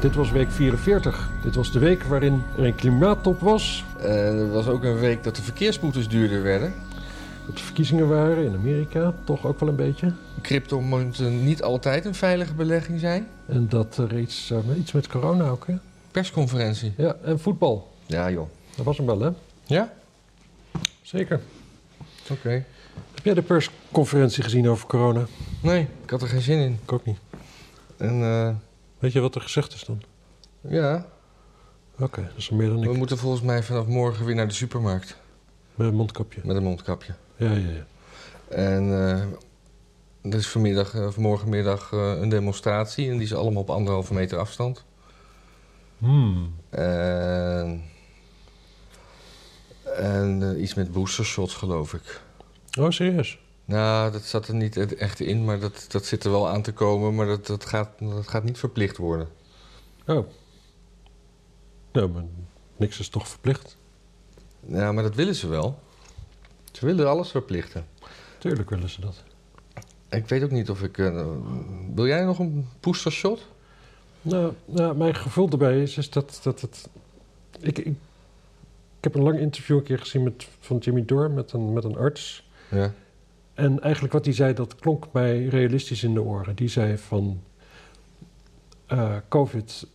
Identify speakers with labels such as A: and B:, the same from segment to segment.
A: Dit was week 44. Dit was de week waarin er een klimaattop was.
B: Eh, er was ook een week dat de verkeersboetes duurder werden.
A: Dat er verkiezingen waren in Amerika, toch ook wel een beetje.
B: Crypto moet eh, niet altijd een veilige belegging zijn.
A: En dat er iets, eh, iets met corona ook, hè?
B: Persconferentie.
A: Ja, en voetbal.
B: Ja, joh.
A: Dat was hem wel, hè?
B: Ja?
A: Zeker.
B: Oké.
A: Heb jij de persconferentie gezien over corona?
B: Nee, ik had er geen zin in.
A: Ik ook niet.
B: En eh,
A: Weet je wat er gezegd is dan? Oh.
B: ja,
A: Oké, dat is meer dan
B: we
A: ik.
B: moeten volgens mij vanaf morgen weer naar de supermarkt.
A: Met een mondkapje.
B: Met een mondkapje.
A: Ja, ja, ja.
B: En eh, er is vanmiddag, eh, of morgenmiddag eh, een demonstratie. En die is allemaal op anderhalve meter afstand.
A: Hmm.
B: En, en eh, iets met boostershots, geloof ik.
A: Oh, serieus?
B: Nou, dat zat er niet e- echt in, maar dat, dat zit er wel aan te komen. Maar dat, dat, gaat, dat gaat niet verplicht worden.
A: Oh. Nou, maar niks is toch verplicht?
B: Ja, maar dat willen ze wel. Ze willen alles verplichten.
A: Tuurlijk willen ze dat.
B: Ik weet ook niet of ik... eh, wil jij nog een boostershot?
A: Nou, nou, mijn gevoel daarbij is, is dat, dat het... Ik, ik, ik heb een lang interview een keer gezien met, van Jimmy Dore met een, met een arts.
B: Ja.
A: En eigenlijk wat hij zei, dat klonk mij realistisch in de oren. Die zei van... eh, Covid,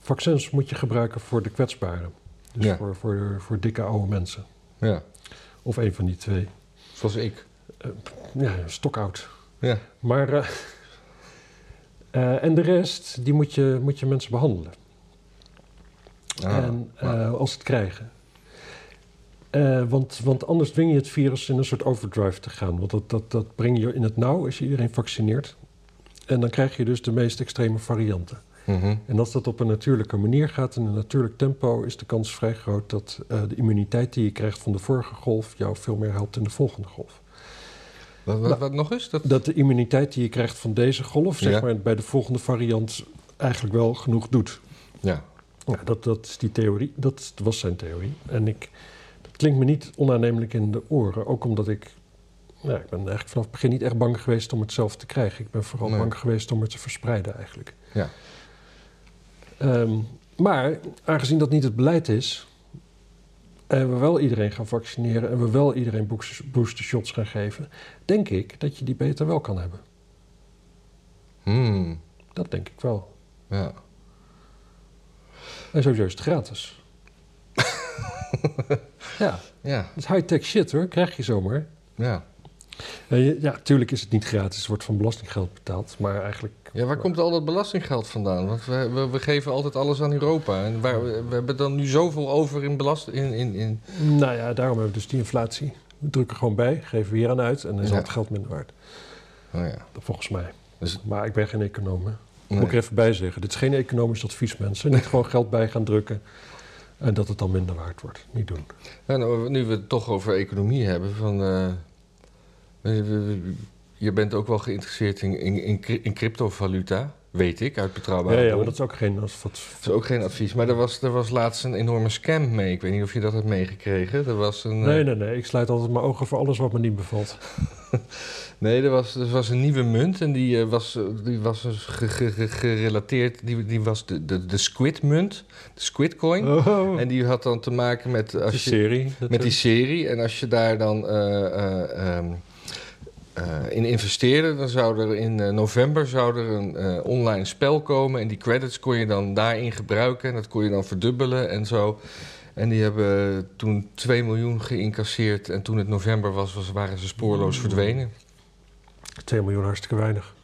A: vaccins moet je gebruiken voor de kwetsbaren. Dus
B: Ja.
A: voor, voor, voor dikke oude mensen.
B: Ja,
A: Of een van die twee.
B: zoals ik.
A: Ja, stokoud.
B: Ja.
A: Maar, eh, eh, en de rest, die moet je, moet je mensen behandelen.
B: Ah,
A: en, eh,
B: maar-
A: als ze het krijgen. Eh, want, want anders dwing je het virus in een soort overdrive te gaan. Want dat, dat, dat breng je in het nauw als je iedereen vaccineert. En dan krijg je dus de meest extreme varianten.
B: Mhm.
A: En als dat op een natuurlijke manier gaat, in een natuurlijk tempo, is de kans vrij groot dat eh, de immuniteit die je krijgt van de vorige golf jou veel meer helpt in de volgende golf.
B: Wat, wat,
A: Nou,
B: wat nog eens? Dat...
A: dat de immuniteit die je krijgt van deze golf, zeg
B: Ja.
A: maar, bij de volgende variant eigenlijk wel genoeg doet.
B: Ja.
A: Ja, dat, dat is die theorie. Dat was zijn theorie. En ik, dat klinkt me niet onaannemelijk in de oren. Ook omdat ik, ja, ik ben eigenlijk vanaf het begin niet echt bang geweest om het zelf te krijgen. Ik ben vooral
B: Nee.
A: bang geweest om het te verspreiden eigenlijk.
B: Ja.
A: Ehm, maar aangezien dat niet het beleid is, en we wel iedereen gaan vaccineren en we wel iedereen boeks- booster shots gaan geven, denk ik dat je die beter wel kan hebben.
B: Hmm.
A: Dat denk ik wel.
B: Ja.
A: En sowieso is het gratis. ja,
B: Ja.
A: het is high-tech shit hoor, krijg je zomaar.
B: Ja.
A: En je- ja, tuurlijk is het niet gratis, het wordt van belastinggeld betaald, maar eigenlijk...
B: Ja, waar komt al dat belastinggeld vandaan? Want we, we, we geven altijd alles aan Europa. En waar, we, we hebben dan nu zoveel over in belasting. In, in, in...
A: Nou ja, daarom hebben we dus die inflatie. We drukken gewoon bij, geven we hier aan uit en dan is
B: Ja.
A: al het geld minder waard.
B: Oh ja.
A: Volgens mij.
B: Dus-
A: Maar ik ben geen econoom. hè.
B: Nee.
A: Moet ik er even bij zeggen, dit is geen economisch advies mensen. Niet gewoon geld bij gaan drukken en dat het dan minder waard wordt. Niet doen.
B: Ja, nou, nu we het toch over economie hebben. Van, eh, we- we- we- je bent ook wel geïnteresseerd in, in, in, cri- in cryptovaluta. Weet ik, uit betrouwbare
A: Ja, ja, maar
B: bron.
A: dat is ook geen... als wat,
B: Dat is ook geen advies. Maar er was, er was laatst een enorme scam mee. Ik weet niet of je dat hebt meegekregen. Er was een, eh,
A: nee, nee, nee. Ik sluit altijd mijn ogen voor alles wat me niet bevalt.
B: Nee, er was, er was een nieuwe munt en die eh, was, eh, die was dus ge- ge- ge- gerelateerd. Die, die was de, de, de Squid-munt, de Squidcoin.
A: Oh.
B: En die had dan te maken met, als
A: die
B: je,
A: serie.
B: met die
A: natuurlijk.
B: serie. En als je daar dan eh, eh, ehm, eh, in investeerde, dan zou er in eh, november zou er een eh, online spel komen. En die credits kon je dan daarin gebruiken en dat kon je dan verdubbelen en zo. En die hebben toen 2 miljoen geïncasseerd. En toen het november was, was waren ze
A: Mm.
B: spoorloos verdwenen.
A: 2 miljoen hartstikke weinig.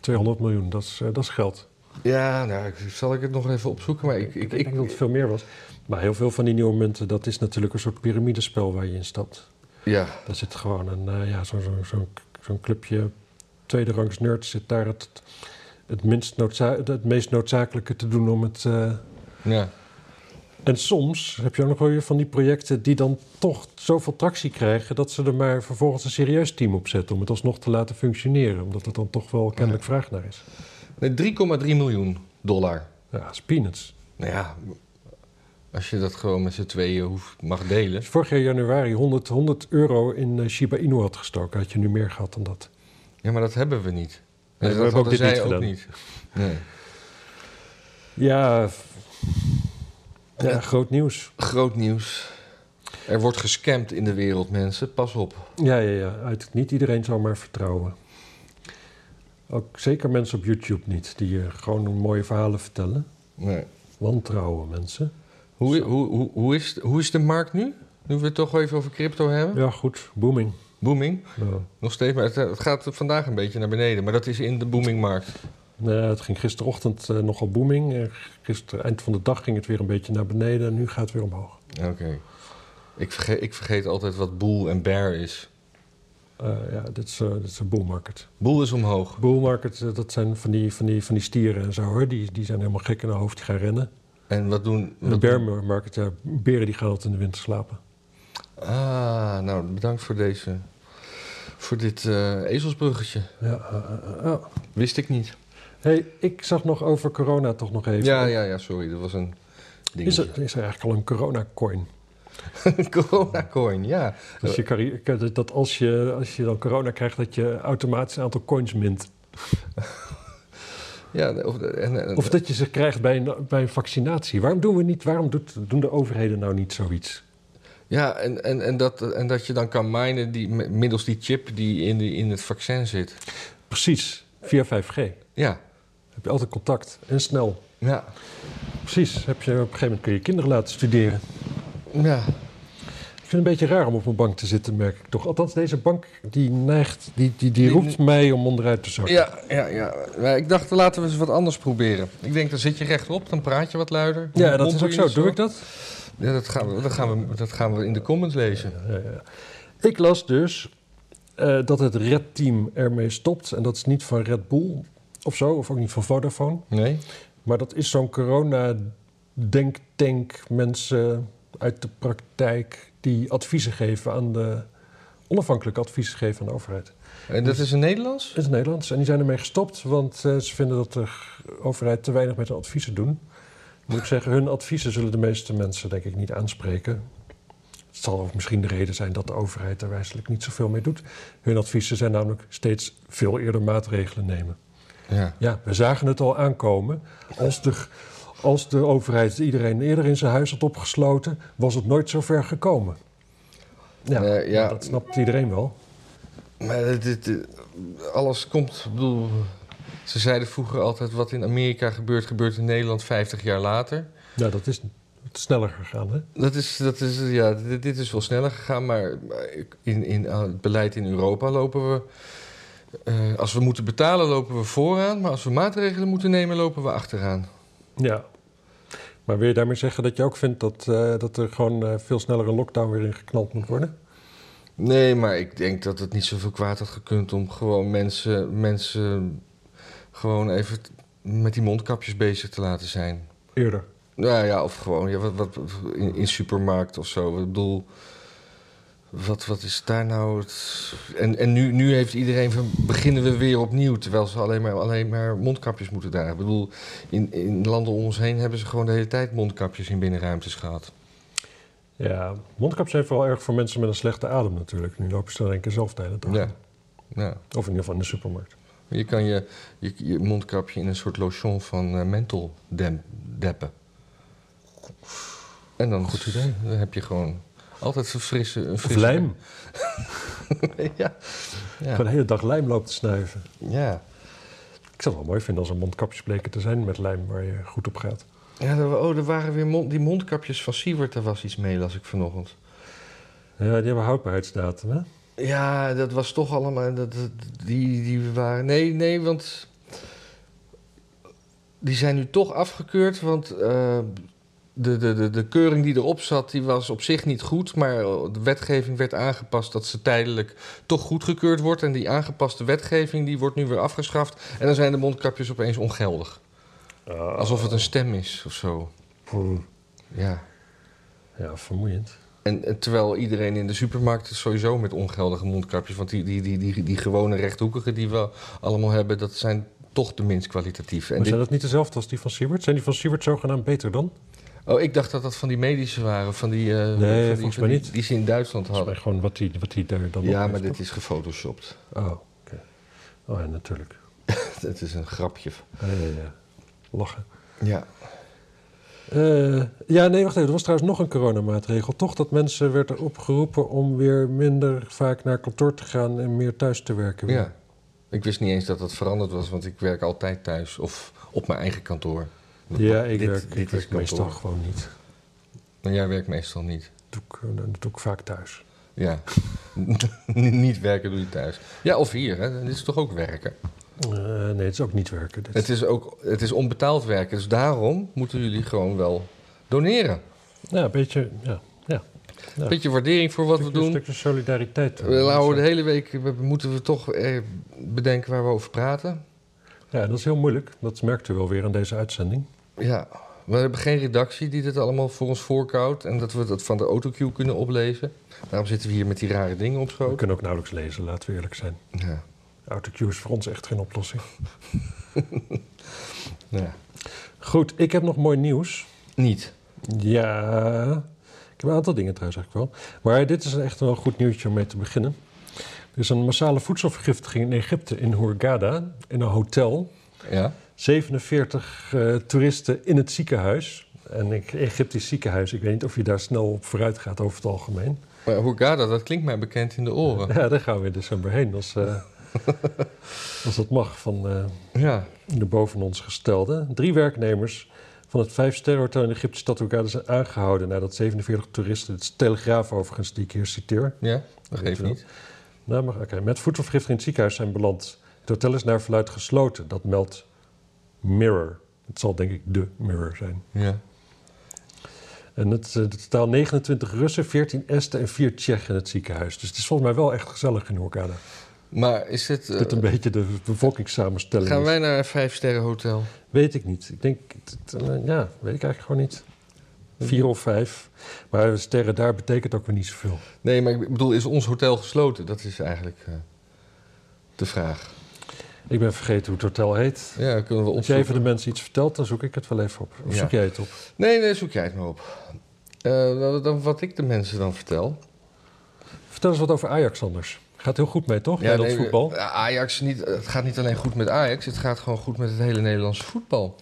A: 200 miljoen, dat is, eh, dat is geld.
B: Ja, nou, ik- zal ik het nog even opzoeken, maar ik... ik, ik,
A: denk dat het veel meer was. Maar heel veel van die nieuwe munten, dat is natuurlijk een soort piramidespel waar je in stapt.
B: ja,
A: Daar zit gewoon een, eh, ja, zo'n zo, zo, zo'n clubje tweede rangs nerds zit daar het, het, minst noodza- het meest noodzakelijke te doen om het... eh,
B: ja,
A: En soms heb je ook nog wel weer van die projecten die dan toch zoveel tractie krijgen... dat ze er maar vervolgens een serieus team op zetten om het alsnog te laten functioneren. Omdat er dan toch wel kennelijk vraag naar is.
B: Nee, 3,3 miljoen dollar.
A: Ja, dat is peanuts.
B: Nou ja, als je dat gewoon met z'n tweeën hoeft, mag delen.
A: Als je vorig jaar januari 100, 100 euro in eh, Shiba Inu had gestoken, had je nu meer gehad dan dat.
B: Ja, maar dat hebben we niet.
A: Nee,
B: dat
A: we hebben ook
B: hadden
A: dit
B: zij
A: niet
B: ook niet. Nee.
A: Ja, f- ja, groot nieuws.
B: Groot nieuws. Er wordt gescamd in de wereld, mensen. Pas op.
A: Ja, ja, ja. Uit, niet iedereen zou maar vertrouwen. Ook zeker mensen op YouTube niet, die je gewoon mooie verhalen vertellen.
B: Nee.
A: Wantrouwen mensen.
B: Hoe, hoe, hoe, hoe, is, hoe is de markt nu? Nu we het toch even over crypto hebben.
A: Ja, goed. Booming.
B: Booming.
A: Ja.
B: Nog steeds, maar het, eh, het gaat vandaag een beetje naar beneden. Maar dat is in de boomingmarkt.
A: Nou, het ging gisterochtend eh, nogal booming. Eh, Gisteren, eind van de dag ging het weer een beetje naar beneden en nu gaat het weer omhoog.
B: Oké. Ik, vergeet, ik vergeet altijd wat boel en bear is.
A: Eh, ja, dit is, eh, dit is een bull market.
B: Boel is omhoog.
A: Bull market, eh, dat zijn van die, van die, van die stieren en zo hoor. Die, die zijn helemaal gek in hun hoofd, die gaan rennen.
B: En wat doen...
A: En de
B: wat
A: bear
B: doen-
A: market, ja, beren die gaan altijd in de winter slapen.
B: Ah, nou, bedankt voor deze... Voor dit eh, ezelsbruggetje.
A: Ja, eh, eh, eh, oh.
B: Wist ik niet.
A: Hey, ik zag nog over corona toch nog even.
B: Ja, ja, ja, sorry. Dat was een
A: Is
B: dingetje.
A: er, is er eigenlijk al een corona-coin?
B: Corona coin, ja.
A: Dus je kan- dat- dat als je, als je dan corona krijgt, dat je automatisch een aantal coins mint.
B: ja of, en, en-
A: Of dat je ze krijgt bij een, bij een vaccinatie. Waarom doen we niet, waarom doet, doen de overheden nou niet zoiets?
B: ja en, en, en, dat, en dat je dan kan minen die, middels die chip die in, die in het vaccin zit.
A: Precies, via 5G.
B: Ja,
A: Heb je altijd contact en snel.
B: ja,
A: Precies, heb je, op een gegeven moment kun je kinderen laten studeren.
B: ja.
A: Ik vind het een beetje raar om op een bank te zitten, merk ik toch. Althans, deze bank die neigt, die, die, die
B: Die-
A: roept mij om onderuit te zakken.
B: Ja, ja, ja. Maar ik dacht, laten we eens wat anders proberen. Ik denk, dan zit je rechtop, dan praat je wat luider.
A: Ja, dat
B: Mond
A: is
B: doe
A: ook
B: je
A: zo.
B: niet
A: Doe ik dat?
B: Ja, dat gaan, we, dat, gaan we, dat gaan we in de comments lezen.
A: Ja, ja. Ik las dus eh, dat het Red Team ermee stopt. En dat is niet van Red Bull of zo, of ook niet van Vodafone.
B: Nee?
A: Maar dat is zo'n corona-denktank. Mensen uit de praktijk die adviezen geven aan de... onafhankelijke adviezen geven aan de overheid.
B: En
A: Dus-
B: dat is in Nederlands?
A: Het is Nederlands. En die zijn ermee gestopt, want eh, ze vinden dat de g- overheid te weinig met hun adviezen doen. Moet ik zeggen, hun adviezen zullen de meeste mensen denk ik niet aanspreken. Het zal ook misschien de reden zijn dat de overheid er wijzelijk niet zoveel mee doet. Hun adviezen zijn namelijk steeds veel eerder maatregelen nemen.
B: Ja.
A: Ja, we zagen het al aankomen. Als de, g- als de overheid iedereen eerder in zijn huis had opgesloten, was het nooit zo ver gekomen. Ja,
B: Eh, ja.
A: dat snapt iedereen wel.
B: Maar dit, dit- alles komt, ik bedoel... Ze zeiden vroeger altijd, wat in Amerika gebeurt, gebeurt in Nederland 50 jaar later.
A: Nou, dat is sneller gegaan, hè?
B: Dat is, dat is, ja, dit, dit is wel sneller gegaan, maar in, in aan het beleid in Europa lopen we... eh, als we moeten betalen, lopen we vooraan. Maar als we maatregelen moeten nemen, lopen we achteraan.
A: Ja. Maar wil je daarmee zeggen dat je ook vindt dat, eh, dat er gewoon eh, veel sneller een lockdown weer ingeknald moet worden?
B: Nee, maar ik denk dat het niet zoveel kwaad had gekund... om gewoon mensen, mensen gewoon even t- met die mondkapjes bezig te laten zijn.
A: Eerder.
B: Nou ja, of gewoon ja, wat, wat, in, in supermarkt of zo. Ik bedoel, wat, wat is daar nou het... En, en nu, nu heeft iedereen van, beginnen we weer opnieuw... terwijl ze alleen maar, alleen maar mondkapjes moeten dragen. Ik bedoel, in, in landen om ons heen hebben ze gewoon de hele tijd mondkapjes in binnenruimtes gehad.
A: Ja, mondkapjes zijn vooral erg voor mensen met een slechte adem natuurlijk. Nu lopen ze er een keer zelf de hele dag.
B: Ja, ja.
A: Of in ieder geval in de supermarkt.
B: Je kan je, je, je mondkapje in een soort lotion van eh menthol dem, deppen. En dan, Goed idee. dan heb je gewoon altijd een frisse... Een
A: Of
B: frisse
A: lijm.
B: ja. Ja.
A: Gewoon de hele dag lijm loopt te snuiven.
B: Ja.
A: Ik zou het wel mooi vinden als er mondkapjes bleken te zijn met lijm waar je goed op gaat.
B: ja er, oh, er waren weer mond- die mondkapjes van Siewert. Daar was iets mee, las ik vanochtend.
A: Ja, die hebben houdbaarheidsdatum, hè?
B: Ja, dat was toch allemaal... Dat, dat- die, die waren... Nee, nee, want... Die zijn nu toch afgekeurd, want... eh, de, de, de, de keuring die erop zat, die was op zich niet goed. Maar de wetgeving werd aangepast dat ze tijdelijk toch goedgekeurd wordt. En die aangepaste wetgeving die wordt nu weer afgeschaft. En dan zijn de mondkapjes opeens ongeldig. Ah, Alsof het een stem is of zo.
A: Poeh.
B: Ja.
A: Ja, vermoeiend.
B: En, en terwijl iedereen in de supermarkt is sowieso met ongeldige mondkapjes. Want die, die, die, die, die gewone rechthoekige die we allemaal hebben, dat zijn toch de minst kwalitatieve. En
A: Maar
B: dit-
A: zijn dat niet dezelfde als die van Siebert? Zijn die van Siebert zogenaamd beter dan?
B: oh, ik dacht dat dat van die medische waren. Van die, eh, van die-
A: volgens
B: van
A: mij
B: die-
A: niet.
B: Die ze in Duitsland
A: Volgens mij
B: hadden.
A: gewoon wat die, wat die daar dan op
B: Oh. Ja,
A: heeft,
B: maar
A: toch?
B: dit is gefotoshopt.
A: Oh, oké. Oh ja, natuurlijk.
B: Het is een grapje.
A: Ja, ja, ja. Lachen.
B: Ja.
A: Eh, ja, nee, wacht even. Er was trouwens nog een coronamaatregel. Toch dat mensen werden opgeroepen om weer minder vaak naar kantoor te gaan en meer thuis te werken.
B: ja. Ik wist niet eens dat dat veranderd was, want ik werk altijd thuis of op mijn eigen kantoor.
A: ja ik
B: Dit-
A: werk,
B: dit
A: ik
B: is
A: werk
B: kantoor.
A: meestal gewoon niet.
B: Maar jij werkt meestal niet.
A: Dat doe, ik, eh, dat doe ik vaak thuis.
B: Ja. niet werken doe je thuis. Ja, of hier. Hè. Dit is toch ook werken?
A: Eh, nee, het is ook niet werken. Dit.
B: Het is ook het is onbetaald werken. Dus daarom moeten jullie gewoon wel doneren.
A: Ja, een beetje. Ja, ja. Ja.
B: Beetje waardering voor wat we
A: Een
B: doen.
A: stukje solidariteit. eh,
B: We houden de hele week we- moeten we toch eh, bedenken waar we over praten.
A: Ja, dat is heel moeilijk. Dat merkt u wel weer aan deze uitzending.
B: Ja, we hebben geen redactie die dit allemaal voor ons voorkoudt. En dat we dat van de autocue kunnen oplezen. Daarom zitten we hier met die rare dingen op
A: We
B: schoot.
A: kunnen ook nauwelijks lezen, laten we eerlijk zijn.
B: Ja.
A: Autocue is voor ons echt geen oplossing.
B: Nou ja.
A: Goed, ik heb nog mooi nieuws.
B: Niet.
A: Ja, ik heb een aantal dingen trouwens eigenlijk wel. Maar dit is echt wel een goed nieuwtje om mee te beginnen. Er is een massale voedselvergiftiging in Egypte, in Hurghada, in een hotel.
B: Ja.
A: 47 eh, toeristen in het ziekenhuis. En een Egyptisch ziekenhuis, ik weet niet of je daar snel op vooruit gaat over het algemeen.
B: Maar Hurghada, dat klinkt mij bekend in de oren.
A: Ja, daar gaan we in december heen, als, eh, als dat mag, van eh,
B: Ja.
A: de boven ons gestelde. Drie werknemers van het vijfsterrenhotel in de Egyptische stad Hurghada zijn dus aangehouden nadat 47 toeristen, het is de Telegraaf overigens die ik hier citeer,
B: Ja, dat geeft niet.
A: nou, maar, oké, met voedselvergiftiging in het ziekenhuis zijn beland. Het hotel is naar verluid gesloten, dat meldt Mirror. Het zal denk ik de Mirror zijn.
B: Ja.
A: En het, eh, het totaal 29 Russen, 14 Esten en 4 Tsjechen in het ziekenhuis. Dus het is volgens mij wel echt gezellig in Hurghada.
B: Maar is dit... eh,
A: Dit een beetje de bevolkingssamenstelling
B: gaan
A: is.
B: wij naar een vijfsterrenhotel?
A: Weet ik niet. Ik denk, t- t- eh, ja, weet ik eigenlijk gewoon niet. Vier of vijf. Maar sterren daar betekent ook weer niet zoveel.
B: Nee, maar ik bedoel, is ons hotel gesloten? Dat is eigenlijk eh, de vraag.
A: Ik ben vergeten hoe het hotel heet.
B: Ja, kunnen we
A: Als jij even
B: opzoeken.
A: de mensen iets vertelt, dan zoek ik het wel even op. Of
B: Ja.
A: zoek jij het op?
B: Nee, nee, zoek jij het maar op. Eh, nou, dan wat ik de mensen dan vertel.
A: Vertel eens wat over Ajax anders. Gaat heel goed mee, toch? Ja, dat
B: nee,
A: voetbal.
B: eh, Ajax niet, het gaat niet alleen goed met Ajax, het gaat gewoon goed met het hele Nederlandse voetbal.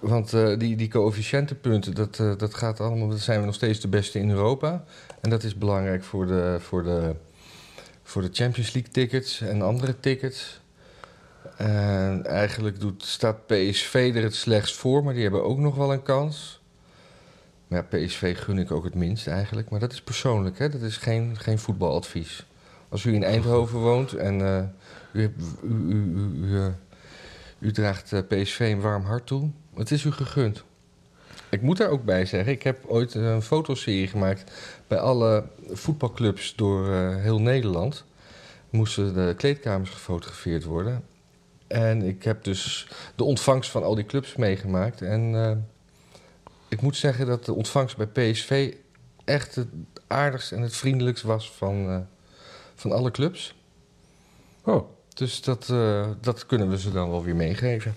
B: Want eh, die, die coëfficiëntenpunten, dat, eh, dat gaat allemaal, dat zijn we nog steeds de beste in Europa. En dat is belangrijk voor de, voor de, voor de Champions League tickets en andere tickets. En eigenlijk doet, staat PSV er het slechtst voor, maar die hebben ook nog wel een kans. Maar ja, PSV gun ik ook het minst eigenlijk. Maar dat is persoonlijk, hè? dat is geen, geen voetbaladvies. Als u in Eindhoven woont en eh, u, hebt- u, u, u, u, eh, u draagt eh, PSV een warm hart toe, het is u gegund. Ik moet daar ook bij zeggen, ik heb ooit een fotoserie gemaakt bij alle voetbalclubs door eh, heel Nederland. Moesten de kleedkamers gefotografeerd worden. En ik heb dus de ontvangst van al die clubs meegemaakt. En eh, ik moet zeggen dat de ontvangst bij PSV echt het aardigst en het vriendelijkst was van, eh, van alle clubs.
A: Oh,
B: Dus dat, eh, dat kunnen we ze dan wel weer meegeven.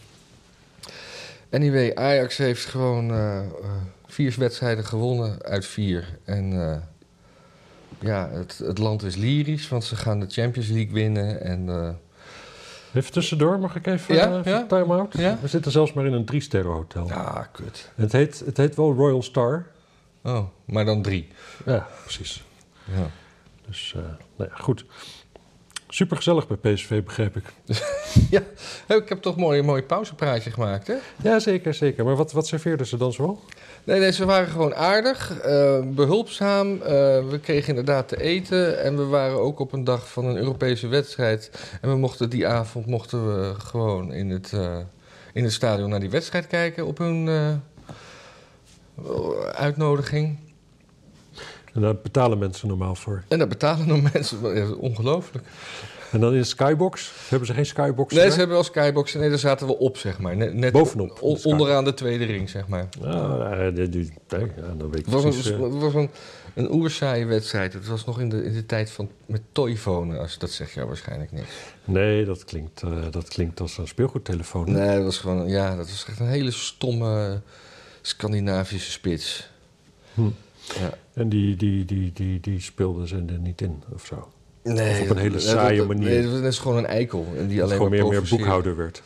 B: Anyway, Ajax heeft gewoon eh, eh, vier wedstrijden gewonnen uit vier. En eh, ja, het, het land is lyrisch, want ze gaan de Champions League winnen. En, eh,
A: even tussendoor, mag ik even
B: Ja,
A: eh, even
B: ja.
A: time-out?
B: Ja.
A: We zitten zelfs maar in een drie-sterren hotel.
B: ah, kut.
A: Het, heet, het heet wel Royal Star.
B: Oh, maar dan drie.
A: Ja, precies.
B: Ja.
A: Dus, eh, nou ja, goed. Supergezellig bij PSV, begreep ik.
B: Hé, Ik heb toch mooi, een mooi pauzepraatje gemaakt, hè?
A: Ja, zeker, zeker. Maar wat, wat serveerden ze dan zoal?
B: Nee, nee, ze waren gewoon aardig, eh, behulpzaam. eh, we kregen inderdaad te eten. En we waren ook op een dag van een Europese wedstrijd. En we mochten die avond mochten we gewoon in het, eh, in het stadion naar die wedstrijd kijken op hun eh, uitnodiging.
A: En daar betalen mensen normaal voor.
B: En daar betalen nog mensen. Ja, dat is ongelooflijk.
A: En dan in de skybox? Hebben ze geen skybox?
B: Nee,
A: daar?
B: ze hebben wel skyboxen. Nee, daar zaten we op, zeg maar. Net, net
A: Bovenop,
B: on-
A: de sky.
B: onderaan de tweede ring, zeg maar.
A: Ah, eh, die- die- nee, ja, dan weet ik
B: Het was,
A: precies,
B: een,
A: eh.
B: het was een, een oersaaie wedstrijd. Het was nog in de, in de tijd van met toyfonen. Als, dat zeg jij waarschijnlijk niks.
A: Nee, dat klinkt, eh, dat klinkt als een speelgoedtelefoon.
B: Nee, dat was gewoon... Ja, dat was echt een hele stomme Scandinavische spits.
A: Hm.
B: Ja.
A: En die, die, die, die, die speelden ze er niet in of zo.
B: Nee,
A: Of op een
B: dat-
A: hele
B: dat-
A: saaie
B: dat-
A: manier.
B: Nee, dat is gewoon een eikel. En die
A: Dat
B: alleen
A: gewoon
B: maar
A: meer, meer
B: provoceert.
A: boekhouder werd.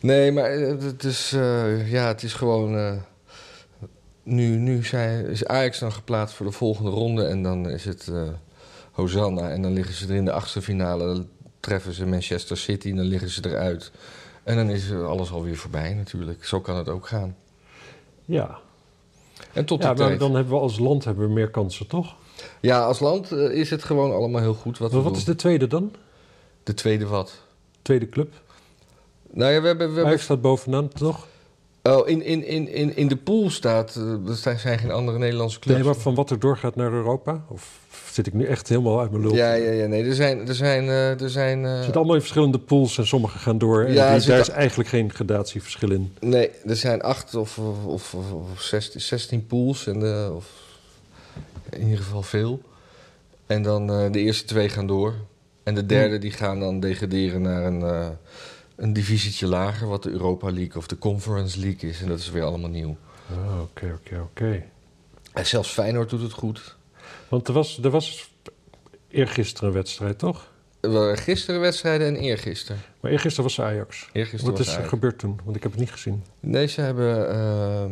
B: Nee, maar eh, het is, eh, ja, het is gewoon. eh, nu nu zijn, is Ajax dan geplaatst voor de volgende ronde. En dan is het eh, Hosanna. En dan liggen ze er in de achtste finale. Dan treffen ze Manchester City. En dan liggen ze eruit. En dan is eh, alles alweer voorbij natuurlijk. Zo kan het ook gaan.
A: Ja,
B: En tot
A: ja
B: die
A: maar
B: tijd.
A: dan hebben we als land hebben we meer kansen, toch?
B: Ja, als land eh, is het gewoon allemaal heel goed wat
A: Wat,
B: we
A: wat
B: doen.
A: is de tweede dan?
B: De tweede wat?
A: Tweede club?
B: Nou ja, we hebben... We hebben
A: Ajax staat bovenaan, toch?
B: oh, in, in, in, in, in de pool staat... eh, er zijn zijn geen andere Nederlandse clubs.
A: Nee, maar van wat er doorgaat naar Europa? Of zit ik nu echt helemaal uit mijn lul?
B: Ja, ja, ja. Nee, er zijn... Er zijn, eh, er zijn eh,
A: Het zit allemaal in verschillende pools en sommige gaan door. En
B: Ja,
A: die-
B: er zit
A: daar
B: a-
A: is eigenlijk geen gradatieverschil in.
B: nee, er zijn acht of, of, of, of- of 16, 16 pools. En, eh, of, in ieder geval veel. En dan eh, de eerste twee gaan door. En de derde die gaan dan degraderen naar een, eh, een divisietje lager... wat de Europa League of de Conference League is. En dat is weer allemaal nieuw.
A: Ah, Oké, oké, oké.
B: En zelfs Feyenoord doet het goed.
A: Want er was, er was eergisteren een wedstrijd, toch?
B: Er waren Gisteren wedstrijden en eergisteren.
A: Maar eergisteren was Ajax.
B: Eergisteren
A: Wat
B: was
A: is er
B: Ajax.
A: gebeurd toen? Want ik heb het niet gezien.
B: Nee, ze hebben eh,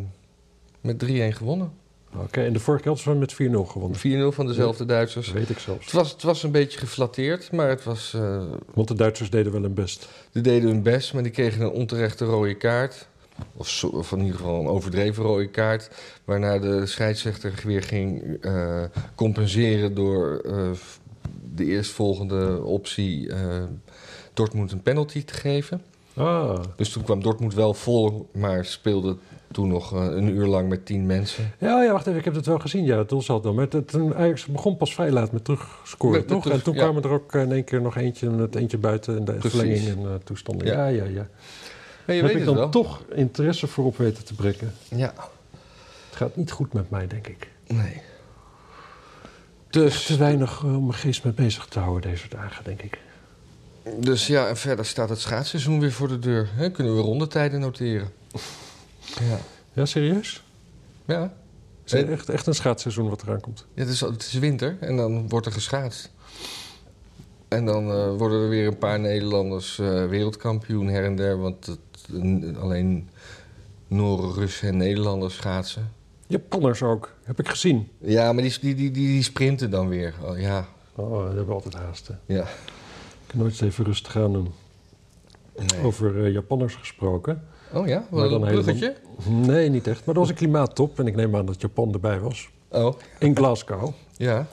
B: met 3-1 gewonnen.
A: Oké, en de vorige keer hadden ze met 4-0 gewonnen.
B: 4-0 van dezelfde Duitsers.
A: Dat weet ik
B: Het
A: zelfs.
B: was, het was een beetje geflatteerd, maar het was, eh,
A: Want de Duitsers deden wel hun best.
B: die deden hun best, maar die kregen een onterechte rode kaart. Of, zo- of in ieder geval een overdreven rode kaart. Waarna de scheidsrechter weer ging eh, compenseren door eh, de eerstvolgende optie eh, Dortmund een penalty te geven.
A: Ah,
B: Dus toen kwam Dortmund wel vol, maar speelde toen nog eh, een uur lang met tien mensen.
A: Ja, ja, wacht even, ik heb het wel gezien. Ja, toen zat dan. Maar het- toen Ajax begon pas vrij laat met terugscoren,
B: Met- met
A: toch?
B: terug-
A: en toen
B: ja.
A: kwamen er ook eh, in één keer nog eentje, met eentje buiten en de
B: Precies.
A: verlenging en eh, toestanden. Ja,
B: Ja.
A: ja, ja.
B: Maar
A: Heb
B: je weet
A: ik
B: het
A: dan
B: wel.
A: toch interesse voor op weten te breken?
B: Ja,
A: Het gaat niet goed met mij, denk ik.
B: nee.
A: Te
B: Dus,
A: weinig eh, om mijn geest mee bezig te houden deze dagen, denk ik.
B: dus ja, en verder staat het schaatsseizoen weer voor de deur. Hè? Kunnen we rondetijden noteren. Ja.
A: Ja, serieus?
B: Ja.
A: Is het
B: Eh,
A: echt, echt een schaatsseizoen wat eraan komt?
B: Ja, het, is, al- het is winter en dan wordt er geschaatst. En dan eh, worden er weer een paar Nederlanders eh, wereldkampioen her en der. Want het- n- alleen Noren, Russen en Nederlanders schaatsen.
A: Japanners ook, heb ik gezien.
B: Ja, maar die, die, die, die die sprinten dan weer. Oh, ja,
A: Oh, we hebben altijd haasten.
B: ja.
A: Ik kan nooit eens even rustig aan doen.
B: Nee.
A: Over eh, Japanners gesproken.
B: Oh ja,
A: Maar
B: wat
A: dan
B: een
A: helemaal-
B: bruggetje.
A: Nee, niet echt. Maar er was een klimaattop en ik neem aan dat Japan erbij was.
B: Oh,
A: In Glasgow,
B: ja.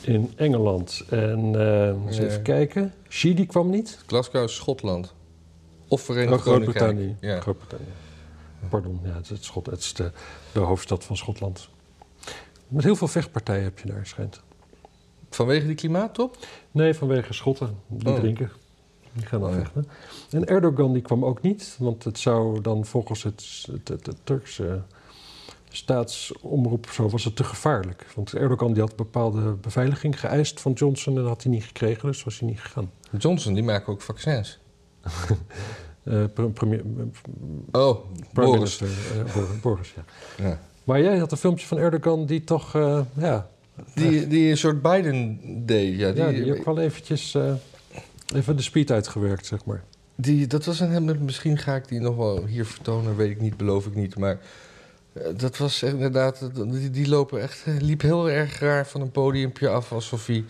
A: in Engeland. En eh, eens
B: Ja.
A: even kijken. Chili kwam niet.
B: Glasgow is Schotland. Of Verenigd
A: Oh, Groot-Brittannië.
B: Koninkrijk. Ja.
A: Groot-Brittannië. Pardon, ja, het is, het Schot, het is de, de hoofdstad van Schotland. Met heel veel vechtpartijen heb je daar, schijnt.
B: Vanwege die klimaattop?
A: Nee, vanwege Schotten. Die
B: Oh.
A: drinken. Die gaan dan
B: Oh, ja.
A: vechten. En Erdogan die kwam ook niet. Want het zou dan volgens het, het, het- het Turkse staatsomroep zo was het te gevaarlijk. Want Erdogan die had bepaalde beveiliging geëist van Johnson... en dat had hij niet gekregen, dus was hij niet gegaan.
B: Johnson, die maken ook vaccins.
A: Eh, pre- premier, eh,
B: Oh,
A: prime
B: Boris.
A: minister, eh, Bor- Boris, ja.
B: Ja.
A: Maar jij had een filmpje van Erdogan die toch... eh, ja,
B: Die, die een soort Biden deed. Ja, die,
A: ja, die ook wel eventjes... eh, even de speed uitgewerkt, zeg maar.
B: die- dat was een hem. Misschien ga ik die nog wel hier vertonen, weet ik niet, beloof ik niet. Maar eh, dat was inderdaad. eh, Die, die lopen echt, eh, liep heel erg raar van een podiumpje af. Alsof hij,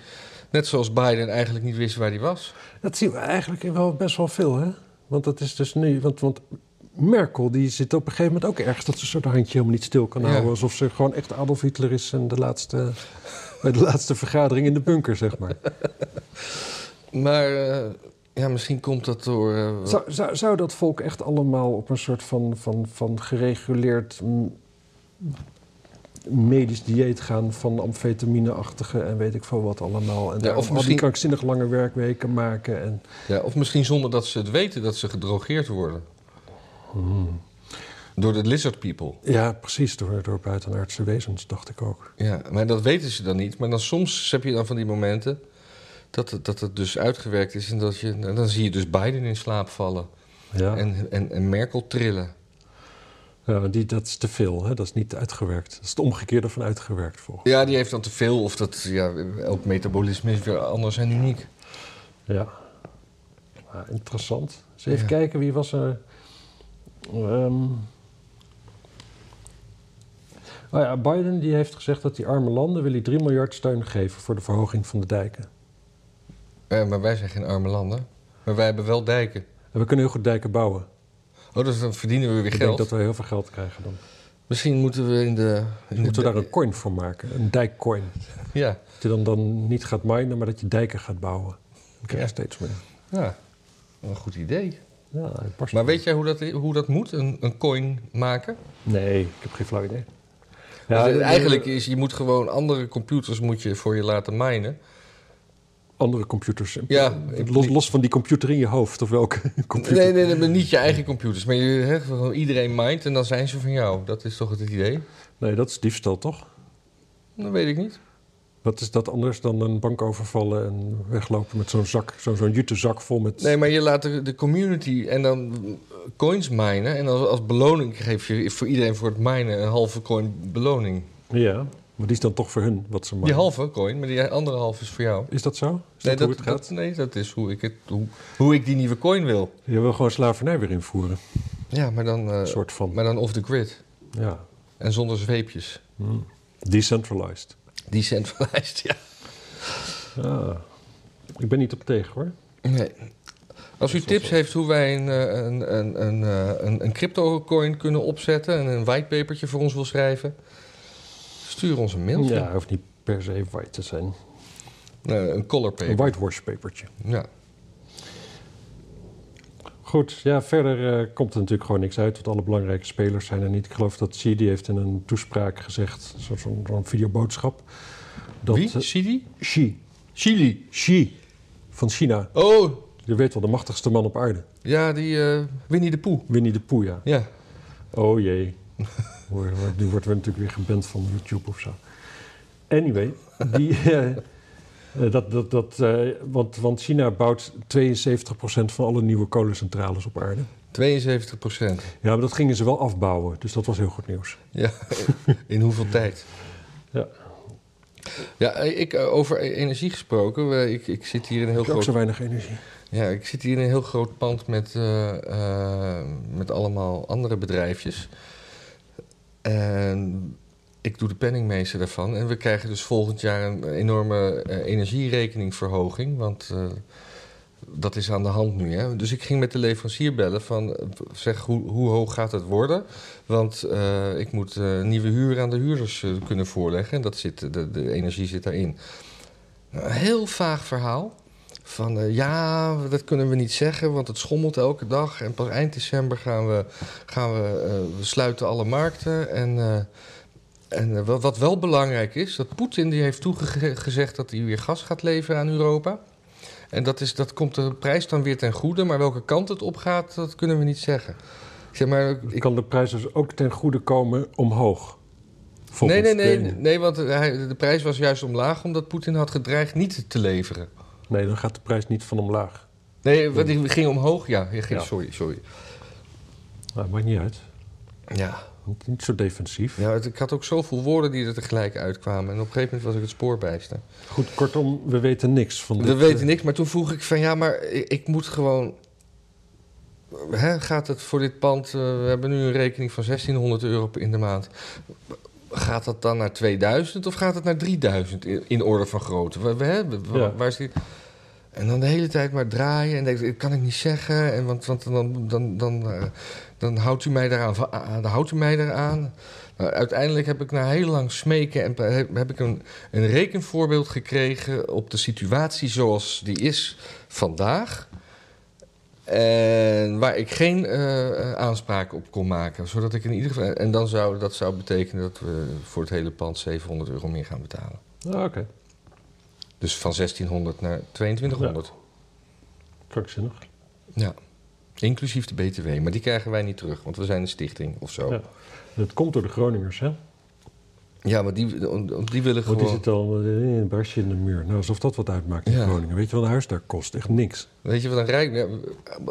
B: net zoals Biden, eigenlijk niet wist waar hij was.
A: Dat zien we eigenlijk wel best wel veel, hè? Want dat is dus nu... Want, want Merkel die zit op een gegeven moment ook ergens... dat ze een soort handje helemaal niet stil kan
B: Ja.
A: houden. Alsof ze gewoon echt Adolf Hitler is... en de laatste, bij de laatste vergadering in de bunker, zeg maar.
B: Maar eh, ja, misschien komt dat door. eh,
A: Zou, zou, zou dat volk echt allemaal op een soort van, van, van gereguleerd... mm, medisch dieet gaan van amfetamine-achtige... en weet ik veel wat allemaal. En
B: Ja,
A: daar of
B: of
A: misschien...
B: misschien-
A: die krankzinnig lange werkweken maken. En...
B: Ja, of misschien zonder dat ze het weten dat ze gedrogeerd worden.
A: Hmm.
B: Door de lizard people.
A: Ja, precies, door, door buitenaardse wezens, dacht ik ook.
B: Ja, maar dat weten ze dan niet. Maar dan soms heb je dan van die momenten dat het, dat het dus uitgewerkt is. En dat je, en dan zie je dus Biden in slaap vallen.
A: Ja.
B: En, en, en Merkel trillen.
A: Ja, maar die, dat is te veel, hè? dat is niet uitgewerkt. Dat is het omgekeerde van uitgewerkt volgens
B: Ja, die heeft dan te veel. Of dat, ja, elk metabolisme is weer anders en uniek.
A: Ja. Maar interessant. Dus even
B: Ja.
A: kijken, wie was er? Ehm. oh ja, Biden die heeft gezegd dat die arme landen wil hij 3 miljard steun geven voor de verhoging van de dijken.
B: Eh, maar wij zijn geen arme landen. Maar wij hebben wel dijken.
A: En we kunnen heel goed dijken bouwen.
B: Oh, dus dan verdienen we weer
A: Ik
B: geld.
A: denk dat we heel veel geld krijgen dan.
B: Misschien moeten we in de... in de
A: Moeten we daar
B: dij-
A: een coin voor maken, een dijkcoin.
B: Ja,
A: Dat je dan, dan niet gaat minen, maar dat je dijken gaat bouwen. Dan krijg je
B: Ja.
A: steeds meer.
B: ja. Wel Een goed idee.
A: Ja, het past
B: Maar
A: wel.
B: weet jij hoe dat, hoe dat moet? Een, een coin maken?
A: Nee, ik heb geen flauw idee.
B: Dus
A: de-
B: eigenlijk is, je moet gewoon andere computers moet je voor je laten minen.
A: Andere computers.
B: Ja,
A: los,
B: ik-
A: los van die computer in je hoofd, of welke computer.
B: Nee, nee, nee, maar niet je eigen computers. Maar je, hè, gewoon iedereen mint en dan zijn ze van jou. Dat is toch het idee?
A: Nee, dat is diefstal, toch?
B: Dat weet ik niet.
A: Wat is dat anders dan een bank overvallen en weglopen met zo'n zak, zo'n zo'n jute zak vol met...
B: Nee, maar je laat de, de community en dan eh, coins minen. En als, als beloning geef je voor iedereen voor het minen een halve coin beloning.
A: Ja, maar die is dan toch voor hun wat ze maken.
B: Die halve coin, maar die andere halve is voor jou.
A: Is dat zo? Is
B: Nee,
A: dat hoe
B: dat,
A: het gaat?
B: dat- nee, dat is hoe ik, het, hoe, hoe ik die nieuwe coin wil.
A: Je wil gewoon slavernij weer invoeren,
B: Ja, maar dan, eh,
A: een soort van.
B: maar dan off the grid.
A: Ja.
B: En zonder zweepjes.
A: Hm. Decentralized.
B: Decentralized, ja.
A: Ah. Ik ben niet op tegen, hoor.
B: Nee. Als u
A: Dat is wel
B: tips
A: zo.
B: heeft hoe wij een, eh, een, een, een, eh, een, een crypto-coin kunnen opzetten... en een whitepapertje voor ons wil schrijven... stuur ons een mailtje.
A: Ja, hoeft niet per se white te zijn.
B: Eh, een color paper.
A: Een whitehorse papertje.
B: Ja.
A: Goed, ja, verder eh, komt er natuurlijk gewoon niks uit, want alle belangrijke spelers zijn er niet. Ik geloof dat Sidi heeft in een toespraak gezegd, zo- zo'n zo'n videoboodschap. Dat,
B: Wie?
A: eh,
B: Sidi?
A: Xi.
B: Chili.
A: Xi van China.
B: Oh,
A: Je weet wel, de machtigste man op aarde.
B: ja, die eh, Winnie de Poe.
A: Winnie de Pooh, ja.
B: Ja.
A: Oh jee. Hoor, hoor, Nu worden we natuurlijk weer geband van YouTube of zo. Anyway, die, eh, eh, dat, dat, dat, eh, want, want China bouwt 72% van alle nieuwe kolencentrales op aarde.
B: 72 procent.
A: Ja, maar dat gingen ze wel afbouwen, dus dat was heel goed nieuws.
B: Ja, in hoeveel tijd?
A: Ja.
B: Ja, ik, eh, over energie gesproken. we- Ik, ik, zit hier in een heel
A: Ik heb ook
B: groot,
A: zo weinig energie.
B: ja, ik zit hier in een heel groot pand met, eh, eh, met allemaal andere bedrijfjes. En ik doe de penningmeester daarvan. En we krijgen dus volgend jaar een enorme eh, energierekeningverhoging. Want eh, dat is aan de hand nu. Hè? Dus ik ging met de leverancier bellen van... eh, zeg, hoe, hoe hoog gaat het worden? Want eh, ik moet eh, nieuwe huur aan de huurders eh, kunnen voorleggen. En dat zit, de, de energie zit daarin. Nou, Een heel vaag verhaal. Van eh, ja, dat kunnen we niet zeggen, want het schommelt elke dag. En pas eind december gaan we, gaan we, eh, we sluiten alle markten. En, eh, en eh, wat- wat wel belangrijk is, dat Poetin die heeft toegezegd dat hij weer gas gaat leveren aan Europa. En dat, is, dat komt de prijs dan weer ten goede, maar welke kant het op gaat, dat kunnen we niet zeggen. Ik zeg maar, ik,
A: Kan de prijs dus ook ten goede komen omhoog?
B: Nee,
A: Volgens
B: nee, nee,
A: de-
B: nee, want hij- de prijs was juist omlaag omdat Poetin had gedreigd niet te leveren.
A: Nee, dan gaat de prijs niet van omlaag.
B: Nee, want die ging omhoog, ja. die ging-
A: Ja.
B: Sorry, sorry.
A: Nou, maakt niet uit.
B: Ja.
A: Want Niet zo defensief.
B: ja het- ik had ook zoveel woorden die er tegelijk uitkwamen. En op een gegeven moment was ik het spoor bijster.
A: Goed, kortom, we weten niks van dit.
B: We weten
A: eh,
B: niks, maar toen vroeg ik van ja, maar ik, ik moet gewoon. Hè, gaat het voor dit pand? eh, we hebben nu een rekening van 1600 euro in de maand. Gaat dat dan naar 2000 of gaat het naar 3000 in, in orde van grootte? We, we, hè, we-
A: Ja.
B: waar is die... En dan de hele tijd maar draaien en denk, ik, kan ik niet zeggen. En want, want dan, dan, dan, eh, dan houdt u mij daaraan. va- ah, Dan houdt u mij daaraan. Nou, uiteindelijk heb ik na heel lang smeken en pe- heb, heb ik een, een rekenvoorbeeld gekregen op de situatie zoals die is vandaag. En waar ik geen eh, aanspraak op kon maken. Zodat ik in ieder geval. En dan zou dat zou betekenen dat we voor het hele pand 700 euro meer gaan betalen.
A: ah, Oké,
B: Dus van 1600 naar 2200.
A: krankzinnig.
B: Ja. Inclusief de BTW. Maar die krijgen wij niet terug, want we zijn een stichting of zo.
A: Ja. Dat komt door de Groningers, hè?
B: Ja, maar die, die willen
A: Want die
B: gewoon...
A: zit al in een barsje in de muur. Nou, alsof dat wat uitmaakt in
B: Ja.
A: Groningen. Weet je wat een huis daar kost? Echt niks.
B: Weet je wat een Rijk... ja,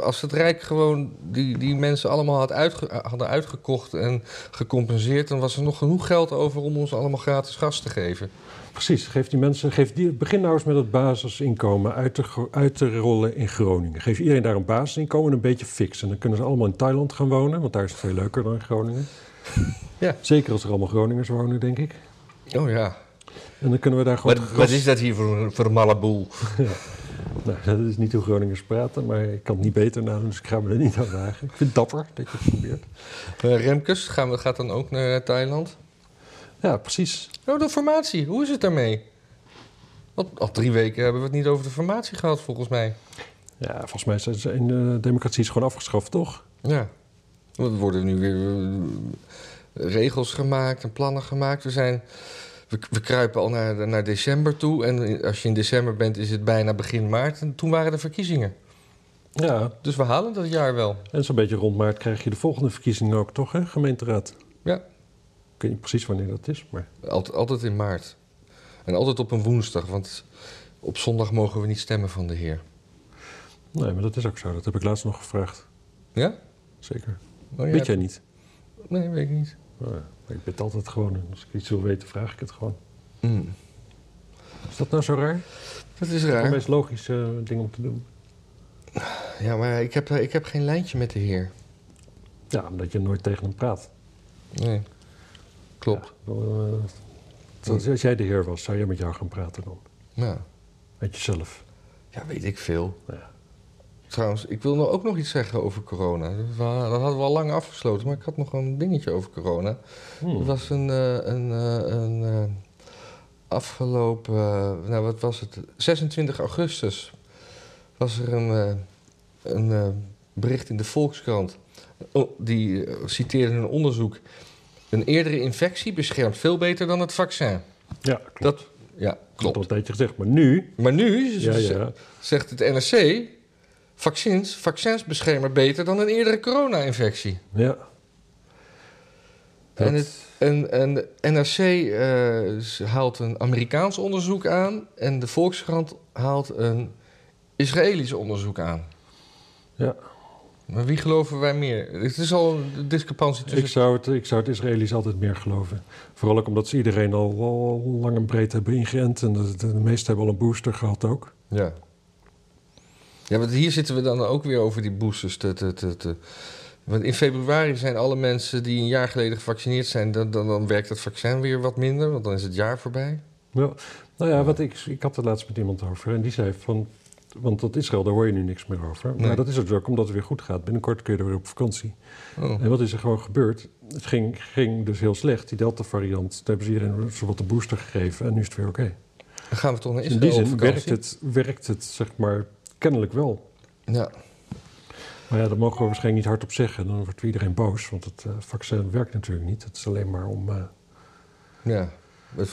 B: Als het Rijk gewoon die, die mensen allemaal had uitge- hadden uitgekocht en gecompenseerd... dan was er nog genoeg geld over om ons allemaal gratis gas te geven.
A: Precies, geef die mensen, geef die, begin nou eens met het basisinkomen uit te, gro- uit te rollen in Groningen. Geef iedereen daar een basisinkomen en een beetje fix. En dan kunnen ze allemaal in Thailand gaan wonen, want daar is het veel leuker dan in Groningen.
B: Ja.
A: Zeker als er allemaal Groningers wonen, denk ik.
B: Oh ja.
A: En dan kunnen we daar gewoon...
B: Wat,
A: gras-
B: wat is dat hier voor, een- voor een malle boel?
A: Nou, dat is niet hoe Groningers praten, maar ik kan het niet beter nou, dus ik ga me er niet aan wagen. Ik vind het dapper dat je het probeert.
B: Eh, Remkes gaan we, gaat dan ook naar eh, Thailand.
A: Ja, precies.
B: Oh, de formatie. Hoe is het daarmee? Al, al drie weken hebben we het niet over de formatie gehad, volgens mij.
A: Ja, volgens mij zijn ze in de democratie is gewoon afgeschaft, toch?
B: Ja. Er worden nu weer eh, regels gemaakt en plannen gemaakt. We, zijn, we, we kruipen al naar, naar december toe. En in- als je in december bent, is het bijna begin maart. En toen waren de verkiezingen.
A: Ja,
B: Dus we halen dat jaar wel.
A: en zo'n beetje rond maart krijg je de volgende verkiezingen ook, toch, hè? Gemeenteraad.
B: Ja,
A: Ik weet niet precies wanneer dat is, maar...
B: altijd, altijd in maart. En altijd op een woensdag, want op zondag mogen we niet stemmen van de heer.
A: Nee, maar dat is ook zo. Dat heb ik laatst nog gevraagd.
B: Ja?
A: Zeker.
B: Oh, ja.
A: Weet jij niet?
B: Nee, weet ik niet.
A: Oh, ja. Maar ik ben het altijd gewoon. En als ik iets wil weten, vraag ik het gewoon.
B: Mm.
A: Is dat nou zo raar?
B: Dat is
A: Het
B: raar.
A: meest logische eh, ding om te doen.
B: Ja, maar ik heb, eh, ik heb geen lijntje met de heer.
A: Ja, omdat je nooit tegen hem praat.
B: Nee. Klopt.
A: Ja, wel, eh, zoals- als jij de heer was, zou jij met jou gaan praten dan?
B: Nou,
A: Met jezelf.
B: ja, weet ik veel.
A: Ja.
B: Trouwens, ik wil nou ook nog iets zeggen over corona. We- Dat hadden we al lang afgesloten, maar ik had nog een dingetje over corona.
A: Hmm.
B: Er was een, eh, een, eh, een eh, afgelopen, eh, nou wat was het, 26 augustus was er een, eh, een eh, bericht in de Volkskrant. Oh, Die eh, citeerde een onderzoek. Een eerdere infectie beschermt veel beter dan het vaccin.
A: Ja, klopt.
B: Dat, ja,
A: Ik heb al
B: klopt.
A: een tijdje gezegd. Maar nu...
B: Maar nu
A: Ja, ja.
B: zegt het NRC... vaccins, vaccins beschermen beter dan een eerdere corona-infectie.
A: ja.
B: En het en, en de NRC eh, ze haalt een Amerikaans onderzoek aan... en de Volkskrant haalt een Israëlisch onderzoek aan.
A: Ja.
B: Maar wie geloven wij meer? Het is al een discrepantie
A: Ik
B: tussen...
A: zou, het, ik zou het Israëli's altijd meer geloven. Vooral ook omdat ze iedereen al, al lang en breed hebben ingeënt. En de, de meesten hebben al een booster gehad ook.
B: Ja. Ja, want hier zitten we dan ook weer over die boosters. Te, te, te, te. Want in februari zijn alle mensen die een jaar geleden gevaccineerd zijn... dan, dan, dan werkt het vaccin weer wat minder, want dan is het jaar voorbij.
A: Ja. Nou ja, wat ik, ik had het laatst met iemand over en die zei van... Want dat Israël, daar hoor je nu niks meer over. Maar
B: Nee.
A: dat is het ook omdat het weer goed gaat. Binnenkort kun je er weer op vakantie.
B: Oh.
A: En wat is er gewoon gebeurd? Het ging, ging dus heel slecht, die Delta-variant. Daar hebben ze iedereen zowat de booster gegeven en nu is het weer oké.
B: Dan gaan we toch naar
A: Dus in
B: Israël
A: die
B: op
A: zin
B: vakantie.
A: werkt het, werkt het, zeg maar, kennelijk wel.
B: Ja.
A: Maar ja, daar mogen we waarschijnlijk niet hard op zeggen. Dan wordt iedereen boos, want het eh, vaccin werkt natuurlijk niet. Het is alleen maar om... eh,
B: ja. Het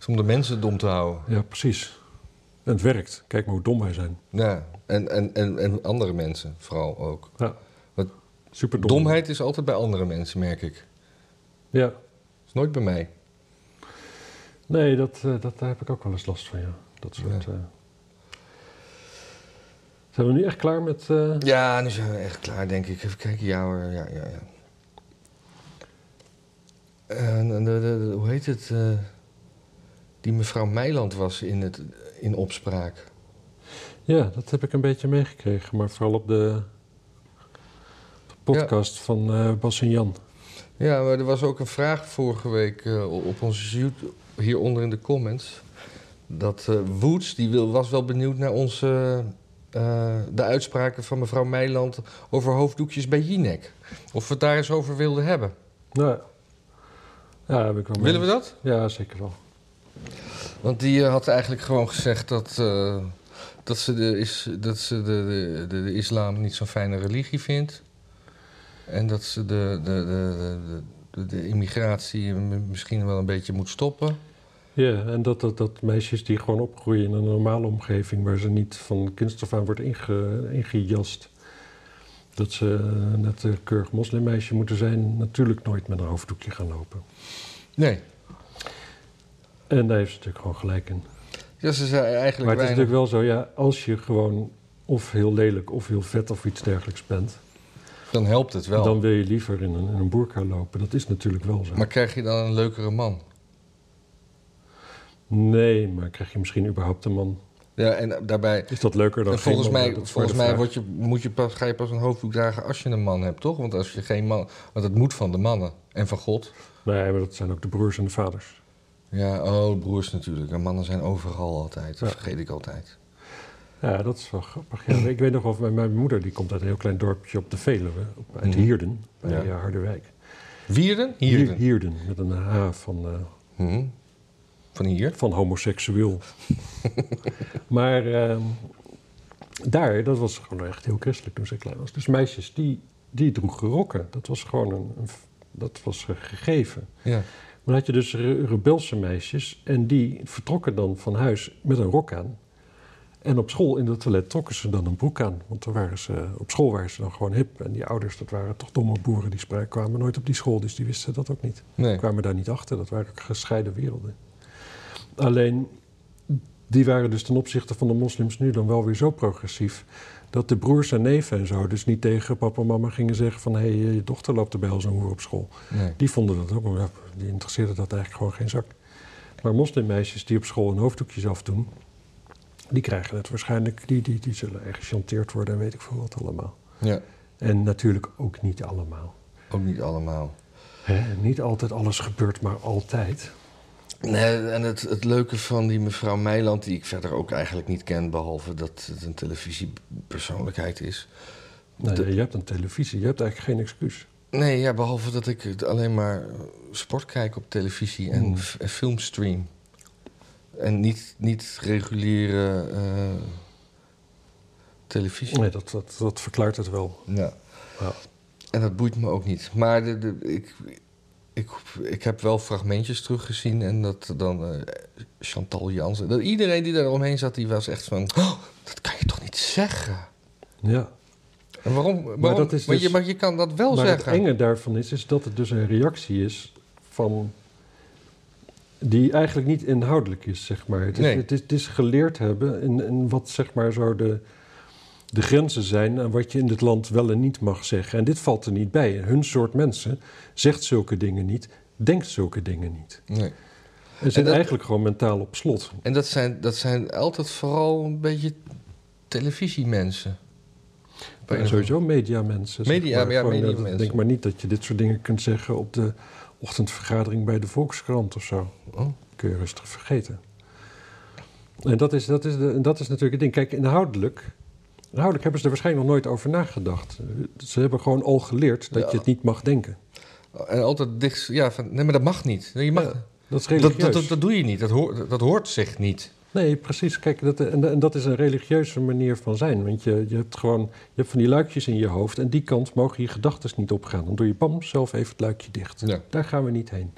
B: is om de mensen dom te houden.
A: ja, precies. En het werkt. Kijk maar hoe dom wij zijn.
B: Ja. En, en, en, en andere mensen vooral ook.
A: Ja.
B: Wat-
A: Super dom.
B: Domheid is altijd bij andere mensen, merk ik.
A: Ja,
B: is nooit bij mij.
A: Nee, dat, eh, dat, daar heb ik ook wel eens last van, ja. Dat soort... eh. Zijn we nu echt klaar met... eh,
B: Ja, nu zijn we echt klaar, denk ik. Even kijken, ja hoor. Ja, ja, ja. En, en Eh, de, de- de- hoe heet het? eh, die mevrouw Meiland was in, het, in opspraak.
A: Ja, dat heb ik een beetje meegekregen. Maar vooral op de, de podcast van eh, Bas en Jan.
B: Ja, maar er was ook een vraag vorige week eh, op onze YouTube, hieronder in de comments. Dat eh, Woods, die wil, was wel benieuwd naar onze, eh, de uitspraken van mevrouw Meiland over hoofddoekjes bij Jinek. Of we het daar eens over wilden hebben.
A: Nou, ja, heb ik wel mee.
B: Willen we dat?
A: Ja, zeker wel.
B: Want die eh, had eigenlijk gewoon gezegd dat, eh, dat ze, de, is, dat ze de, de, de, de islam niet zo'n fijne religie vindt. En dat ze de, de, de, de, de, de immigratie m- misschien wel een beetje moet stoppen.
A: Ja, en dat, dat, dat meisjes die gewoon opgroeien in een normale omgeving... waar ze niet van kinds af aan wordt inge, ingejast... dat ze eh, net een keurig moslimmeisje moeten zijn... natuurlijk nooit met een hoofddoekje gaan lopen.
B: Nee.
A: En daar heeft ze natuurlijk gewoon gelijk in.
B: Ja, ze zijn
A: Maar het
B: eigenlijk
A: is
B: weinig-
A: natuurlijk wel zo, ja, als je gewoon of heel lelijk of heel vet of iets dergelijks bent,
B: Dan helpt het wel.
A: dan wil je liever in een, in een boerka lopen. Dat is natuurlijk wel zo.
B: Maar krijg je dan een leukere man?
A: Nee, maar krijg je misschien überhaupt een man?
B: Ja, en daarbij...
A: Is dat leuker dan
B: en volgens
A: geen man?
B: mij,
A: Dat is maar
B: volgens
A: de
B: mij
A: vraag.
B: word je, moet je pas, ga je pas een hoofddoek dragen als je een man hebt, toch? Want als je geen man... Want het moet van de mannen en van God.
A: Nee, maar dat zijn ook de broers en de vaders.
B: Ja, oh, broers natuurlijk. En mannen zijn overal altijd. Dat
A: Ja.
B: vergeet ik altijd.
A: Ja, dat is wel grappig. Ja, ik weet nog wel, mijn, mijn moeder die komt uit een heel klein dorpje op de Veluwe, op, uit
B: Mhm.
A: Hierden, bij
B: Ja.
A: eh, Harderwijk.
B: Wierden?
A: Hier-
B: Hierden.
A: Hierden, met een H van, eh,
B: Hm. Van hier?
A: van homoseksueel. maar ehm, daar, dat was gewoon echt heel christelijk toen ze klein was. Dus meisjes, die, die droegen rokken. Dat was gewoon een, een f- dat was een gegeven.
B: Ja.
A: Maar dan had je dus re- rebelse meisjes en die vertrokken dan van huis met een rok aan. En op school in het toilet trokken ze dan een broek aan. Want dan waren ze, op school waren ze dan gewoon hip. En die ouders, dat waren toch domme boeren, die spraken, kwamen nooit op die school. Dus die wisten dat ook niet
B: Nee.
A: kwamen daar niet achter. Dat waren ook gescheiden werelden. Alleen, die waren dus ten opzichte van de moslims nu dan wel weer zo progressief... dat de broers en neven en zo dus niet tegen papa en mama gingen zeggen van... hé, hey, eh, je dochter loopt er bij als een hoer op school.
B: nee.
A: Die vonden dat ook, ja, die interesseerde dat eigenlijk gewoon geen zak. Maar moslimmeisjes die op school hun hoofddoekjes afdoen... die krijgen het waarschijnlijk, die, die, die zullen echt gechanteerd worden en weet ik veel wat allemaal.
B: Ja,
A: En natuurlijk ook niet allemaal.
B: ook niet allemaal.
A: Hè? Niet altijd alles gebeurt, maar altijd...
B: Nee, en het, het leuke van die mevrouw Meiland, die ik verder ook eigenlijk niet ken, behalve dat het een televisiepersoonlijkheid is.
A: Nee,
B: De-
A: je hebt een televisie, je hebt eigenlijk geen excuus.
B: Nee, ja, behalve dat ik het alleen maar eh, sport kijk op televisie en
A: Hmm.
B: f- en film stream. En niet, niet reguliere eh, televisie.
A: Nee, dat, dat, dat verklaart het wel.
B: Ja.
A: Ja.
B: En dat boeit me ook niet. Maar de, de- ik, ik, ik heb wel fragmentjes teruggezien. En dat dan eh, Chantal Jansen. Dat iedereen die daar omheen zat, die was echt van... "Oh, dat kan je toch niet zeggen?
A: Ja.
B: En waarom? waarom?
A: Maar dat is
B: maar, je,
A: dus-
B: maar je kan dat wel
A: Maar het
B: zeggen.
A: enge daarvan is, is dat het dus een reactie is van... die eigenlijk niet inhoudelijk is, zeg maar. Het is,
B: Nee.
A: het is, het is geleerd hebben in, in wat, zeg maar, zo de, de grenzen zijn... en wat je in dit land wel en niet mag zeggen. En dit valt er niet bij. Hun soort mensen zegt zulke dingen niet, denkt zulke dingen niet.
B: Nee.
A: En zit
B: dat-
A: eigenlijk gewoon mentaal op slot.
B: En dat zijn, dat zijn altijd vooral een beetje televisiemensen. Op een
A: Ja, sowieso mediamensen. zeg
B: Media,
A: maar.
B: ja,
A: Gewoon, eh,
B: mediamensen.
A: Denk maar niet dat je dit soort dingen kunt zeggen op de ochtendvergadering bij de Volkskrant of zo.
B: of andere-
A: Kun je rustig vergeten. En dat is, dat is, de, en dat is natuurlijk het ding. Kijk, inhoudelijk, inhoudelijk hebben ze er waarschijnlijk nog nooit over nagedacht. Ze hebben gewoon al geleerd dat
B: Ja.
A: je het niet mag denken.
B: Oh. En altijd dicht... Ja, van, nee, maar dat mag niet. Nee, Je mag,
A: Ja, Dat is
B: dat,
A: religieus.
B: dat, dat, dat doe je niet. Dat hoort, dat hoort zich niet.
A: Nee, precies. Kijk, dat, en, en dat is een religieuze manier van zijn. Want je, je hebt gewoon, je hebt van die luikjes in je hoofd en die kant mogen je gedachten niet opgaan. Dan doe je pam zelf even het luikje dicht.
B: Ja.
A: Daar gaan we niet heen.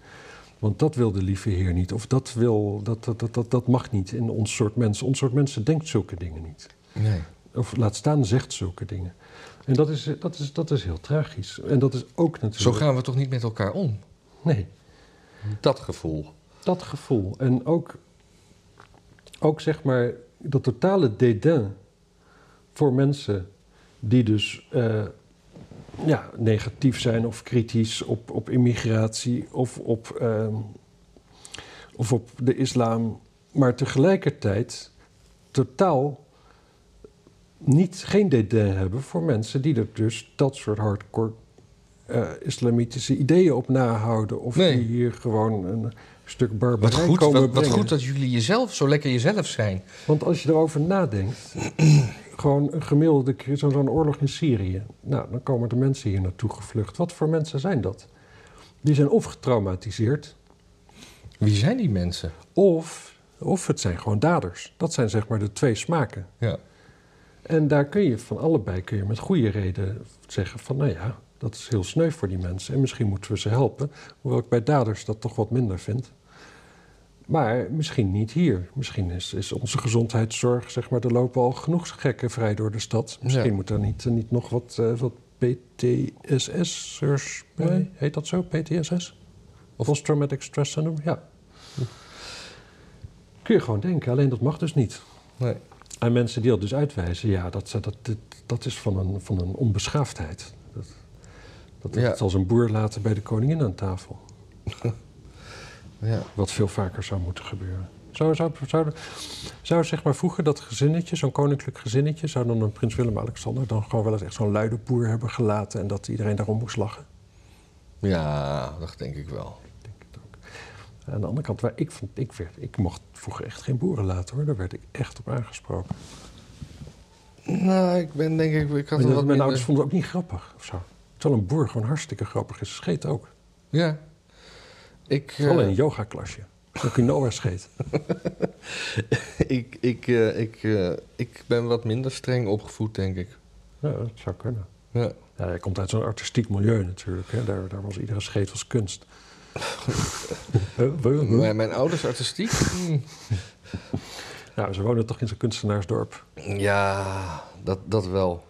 A: Want dat wil de lieve Heer niet. Of dat, wil, dat, dat, dat, dat, dat mag niet in ons soort mensen. Ons soort mensen denkt zulke dingen niet.
B: Nee.
A: Of laat staan, zegt zulke dingen. En dat is, dat is, dat is heel tragisch. En dat is ook natuurlijk.
B: Zo gaan we toch niet met elkaar om?
A: Nee.
B: Dat gevoel.
A: dat gevoel. En ook, ook zeg maar dat totale dédain voor mensen die dus eh, ja, negatief zijn of kritisch op, op immigratie of op, eh, of op de islam. Maar tegelijkertijd totaal niet, geen dédain hebben voor mensen die er dus dat soort hardcore eh, islamitische ideeën op nahouden. Of
B: Nee.
A: die hier gewoon een stuk
B: Wat
A: barbarij
B: goed,
A: komen
B: wat, wat
A: brengen.
B: goed dat jullie jezelf zo lekker jezelf zijn.
A: Want als je erover nadenkt, gewoon een gemiddelde keer zo'n zo'n oorlog in Syrië. Nou, dan komen de mensen hier naartoe gevlucht. Wat voor mensen zijn dat? Die zijn of getraumatiseerd,
B: Wie zijn die mensen?
A: of, of het zijn gewoon daders. Dat zijn zeg maar de twee smaken.
B: Ja.
A: En daar kun je van allebei kun je met goede reden zeggen van, nou ja, dat is heel sneu voor die mensen en misschien moeten we ze helpen. Hoewel ik bij daders dat toch wat minder vind. Maar misschien niet hier. Misschien is, is onze gezondheidszorg, zeg maar, er lopen al genoeg gekken vrij door de stad. Misschien
B: Ja.
A: moet daar niet, niet nog wat, eh, wat PTSS'ers bij. Heet dat zo, PTSS? Of Post Traumatic Stress Syndrome, ja. Kun je gewoon denken, alleen dat mag dus niet.
B: Nee.
A: En mensen die dat dus uitwijzen, ja, dat, dat, dat, dat is van een, van een onbeschaafdheid. Dat, dat is
B: Ja.
A: het als een boer laten bij de koningin aan tafel.
B: Ja.
A: Wat veel vaker zou moeten gebeuren. Zou, zou, zou, zou zeg maar vroeger dat gezinnetje, zo'n koninklijk gezinnetje... zou dan een prins Willem-Alexander dan gewoon wel eens echt zo'n luide boer hebben gelaten... en dat iedereen daarom moest lachen?
B: ja, dat denk ik wel.
A: Ik denk het ook. Aan de andere kant, waar ik, vond, ik, werd, ik mocht vroeger echt geen boeren laten hoor. Daar werd ik echt op aangesproken.
B: Nou, ik ben denk ik... Ik had
A: Mijn
B: er wat
A: mijn
B: minder-
A: ouders vonden het ook niet grappig of zo. Terwijl een boer gewoon hartstikke grappig is. Scheet ook.
B: Ja. Ik, eh,
A: Vooral in een yogaklasje. Dan quinoa scheet.
B: ik, ik, eh, ik, eh, ik ben wat minder streng opgevoed, denk ik.
A: Ja, dat zou kunnen.
B: Ja.
A: Ja, hij komt uit zo'n artistiek milieu natuurlijk. Hè. Daar, daar was iedere scheet was kunst.
B: Mijn, mijn ouders artistiek? Hm.
A: nou, ze wonen toch in zo'n kunstenaarsdorp.
B: Ja, dat, dat wel.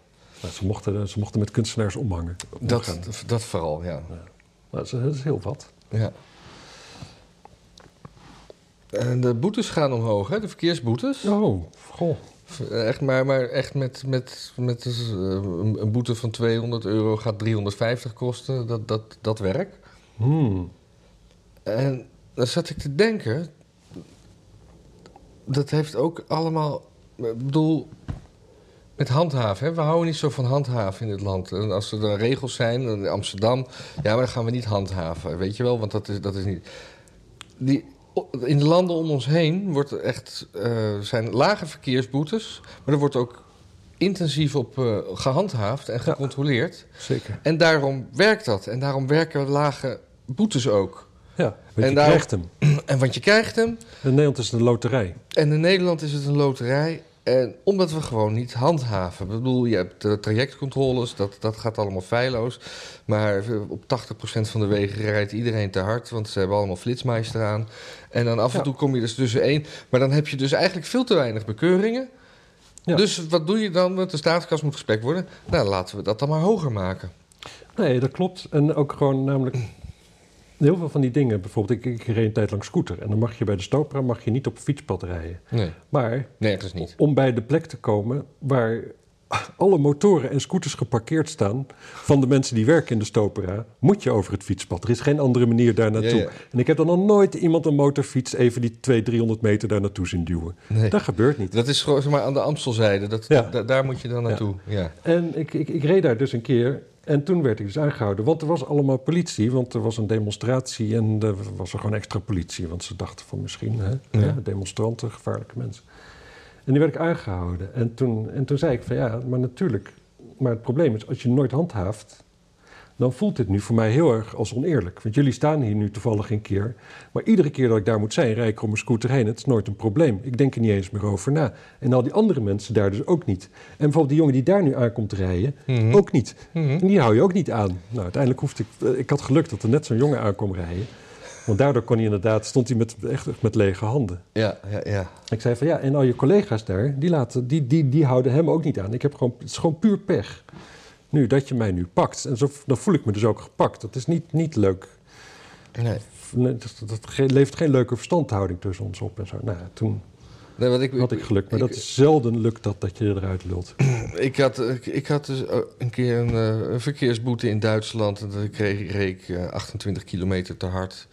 A: Nou, ze, mochten, ze mochten met kunstenaars omhangen.
B: Dat, dat vooral, ja.
A: Nou, dat, is, dat is heel wat.
B: ja. En de boetes gaan omhoog, hè? De verkeersboetes.
A: Oh, goh.
B: Echt, maar, maar echt met, met, met eh, een een boete van 200 euro gaat 350 kosten. Dat, dat, dat werk.
A: Hmm.
B: En dan zat ik te denken. Dat heeft ook allemaal. Ik bedoel. Met handhaven. Hè? We houden niet zo van handhaven in dit land. En als er dan regels zijn. dan In Amsterdam. Ja, maar dan gaan we niet handhaven. Weet je wel? Want dat is, dat is niet. Die, in de landen om ons heen wordt er echt, eh, zijn lage verkeersboetes. Maar er wordt ook intensief op eh, gehandhaafd en gecontroleerd.
A: Zeker.
B: En daarom werkt dat. En daarom werken lage boetes ook.
A: Ja, want je
B: daarom-
A: krijgt hem.
B: En want je krijgt hem.
A: In Nederland is het een loterij.
B: En in Nederland is het een loterij. En omdat we gewoon niet handhaven. Ik bedoel, je hebt eh, trajectcontroles, dat, dat gaat allemaal feilloos. Maar op 80% van de wegen rijdt iedereen te hard, want ze hebben allemaal flitsmeister aan. En dan af en
A: Ja.
B: toe kom je dus tussen één. Maar dan heb je dus eigenlijk veel te weinig bekeuringen.
A: Ja.
B: Dus wat doe je dan? Want de staatskas moet gespekt worden. Nou, laten we dat dan maar hoger maken.
A: Nee, dat klopt. En ook gewoon namelijk... Heel veel van die dingen, bijvoorbeeld, ik, ik reed een tijd lang scooter. En dan mag je bij de Stopra mag je niet op fietspad rijden.
B: Nee,
A: Maar
B: nergens niet.
A: om bij de plek te komen waar alle motoren en scooters geparkeerd staan van de mensen die werken in de Stopera, moet je over het fietspad. Er is geen andere manier daar naartoe.
B: Ja, ja.
A: En ik heb dan nog nooit iemand een motorfiets even die 200, 300 meter daar naartoe zien duwen.
B: Nee.
A: Dat gebeurt niet.
B: Dat is gewoon zeg maar, aan de Amstelzijde. Dat,
A: Ja.
B: da- daar moet je dan naartoe. Ja.
A: En ik, ik, ik reed daar dus een keer. En toen werd ik dus aangehouden. Want er was allemaal politie. Want er was een demonstratie. En er was er gewoon extra politie. Want ze dachten van misschien hè,
B: Ja.
A: hè, demonstranten, gevaarlijke mensen. En die werd ik aangehouden. En toen, en toen zei ik van ja, maar natuurlijk. Maar het probleem is, als je nooit handhaaft. Dan voelt dit nu voor mij heel erg als oneerlijk. Want jullie staan hier nu toevallig een keer. Maar iedere keer dat ik daar moet zijn, rijd ik om mijn scooter heen. Het is nooit een probleem. Ik denk er niet eens meer over na. En al die andere mensen daar dus ook niet. En bijvoorbeeld die jongen die daar nu aankomt rijden,
B: Mhm.
A: ook niet.
B: Mhm.
A: En die hou je ook niet aan. Nou, uiteindelijk hoefde ik... eh, Ik had geluk dat er net zo'n jongen aan kwam rijden. Want daardoor kon hij inderdaad... stond hij met, echt, echt met lege handen.
B: Ja, ja, ja.
A: Ik zei van ja, en al je collega's daar... die, laten, die, die, die houden hem ook niet aan. Ik heb gewoon, het is gewoon puur pech. Nu, dat je mij nu pakt. En zo, dan voel ik me dus ook gepakt. Dat is niet, niet leuk.
B: Nee.
A: Nee, Dat, dat, dat ge- levert geen leuke verstandhouding tussen ons op en zo. Nou, ja, toen
B: Nee, want ik,
A: had ik geluk. Maar
B: ik-
A: dat is zelden lukt dat, dat je eruit lult.
B: Ik had, ik, ik had dus eh, een keer een, eh, een verkeersboete in Duitsland. En dan kreeg, reed ik eh, 28 kilometer te hard.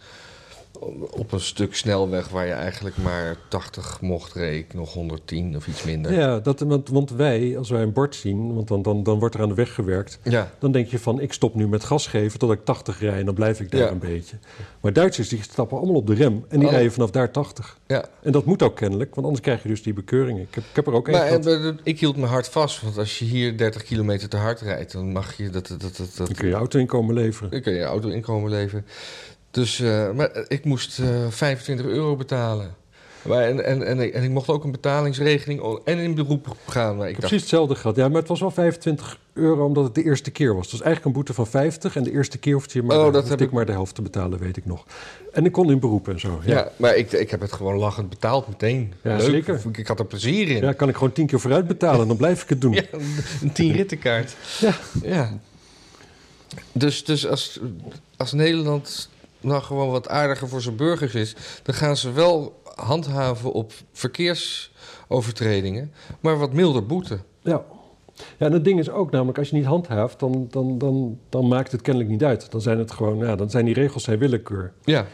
B: Op een stuk snelweg waar je eigenlijk maar 80 mocht, reed ik nog 110 of iets minder.
A: Ja, dat, want, want wij, als wij een bord zien... want dan, dan, dan wordt er aan de weg gewerkt...
B: ja.
A: dan denk je van, ik stop nu met gas geven tot ik 80 rij... en dan blijf ik daar
B: Ja.
A: een beetje. Maar Duitsers die stappen allemaal op de rem... en die
B: Oh.
A: rijden vanaf daar 80.
B: ja.
A: En dat moet ook kennelijk, want anders krijg je dus die bekeuringen. Ik heb, ik heb er ook één
B: Maar
A: gehad.
B: eh, ik hield me hard vast, want als je hier 30 kilometer te hard rijdt, dan mag je dat, dat, dat, dat,
A: Dan kun je auto inkomen leveren.
B: dan kun je auto inkomen leven. Dus, eh, maar ik moest eh, 25 euro betalen. Maar en, en, en, ik- en ik mocht ook een betalingsregeling o- en in beroep gaan. Maar ik
A: Ik heb
B: dacht,
A: precies hetzelfde gehad. Ja, maar het was wel 25 euro omdat het de eerste keer was. Dus eigenlijk een boete van 50. En de eerste keer hoefde, je maar,
B: Oh,
A: de-
B: dat
A: hoefde
B: heb
A: ik
B: ik-
A: maar de helft te betalen, weet ik nog. En ik kon in beroep en zo. Ja,
B: Ja, maar ik, ik heb het gewoon lachend betaald meteen.
A: Ja,
B: Leuk.
A: zeker.
B: Ik, ik had er plezier in.
A: ja kan ik gewoon tien keer vooruit betalen. Dan blijf ik het doen.
B: Ja, een tien rittenkaart.
A: Ja.
B: ja. Dus, dus als, als Nederland nou gewoon wat aardiger voor zijn burgers is... dan gaan ze wel handhaven op verkeersovertredingen, maar wat milder boeten.
A: Ja. Ja, en het ding is ook namelijk, als je niet handhaaft, dan, dan, dan, dan maakt het kennelijk niet uit. Dan zijn het gewoon, ja, dan zijn die regels zijn willekeur.
B: Ja,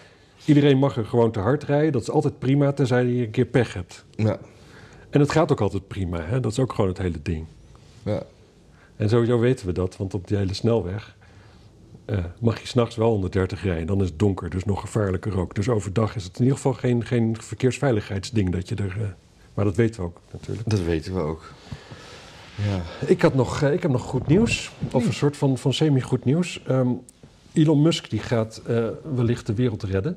A: Iedereen mag er gewoon te hard rijden, dat is altijd prima, tenzij je een keer pech hebt.
B: ja,
A: En het gaat ook altijd prima, hè? dat is ook gewoon het hele ding.
B: ja.
A: En sowieso weten we dat, want op die hele snelweg eh, mag je s'nachts wel 130 rijden. Dan is het donker, dus nog gevaarlijker ook. Dus overdag is het in ieder geval geen, geen verkeersveiligheidsding dat je er. eh, maar dat weten we ook natuurlijk.
B: dat weten we ook. Ja.
A: Ik, had nog, eh, ik heb nog goed nieuws, of een soort van, van semi-goed nieuws. Ehm, Elon Musk die gaat eh, wellicht de wereld redden.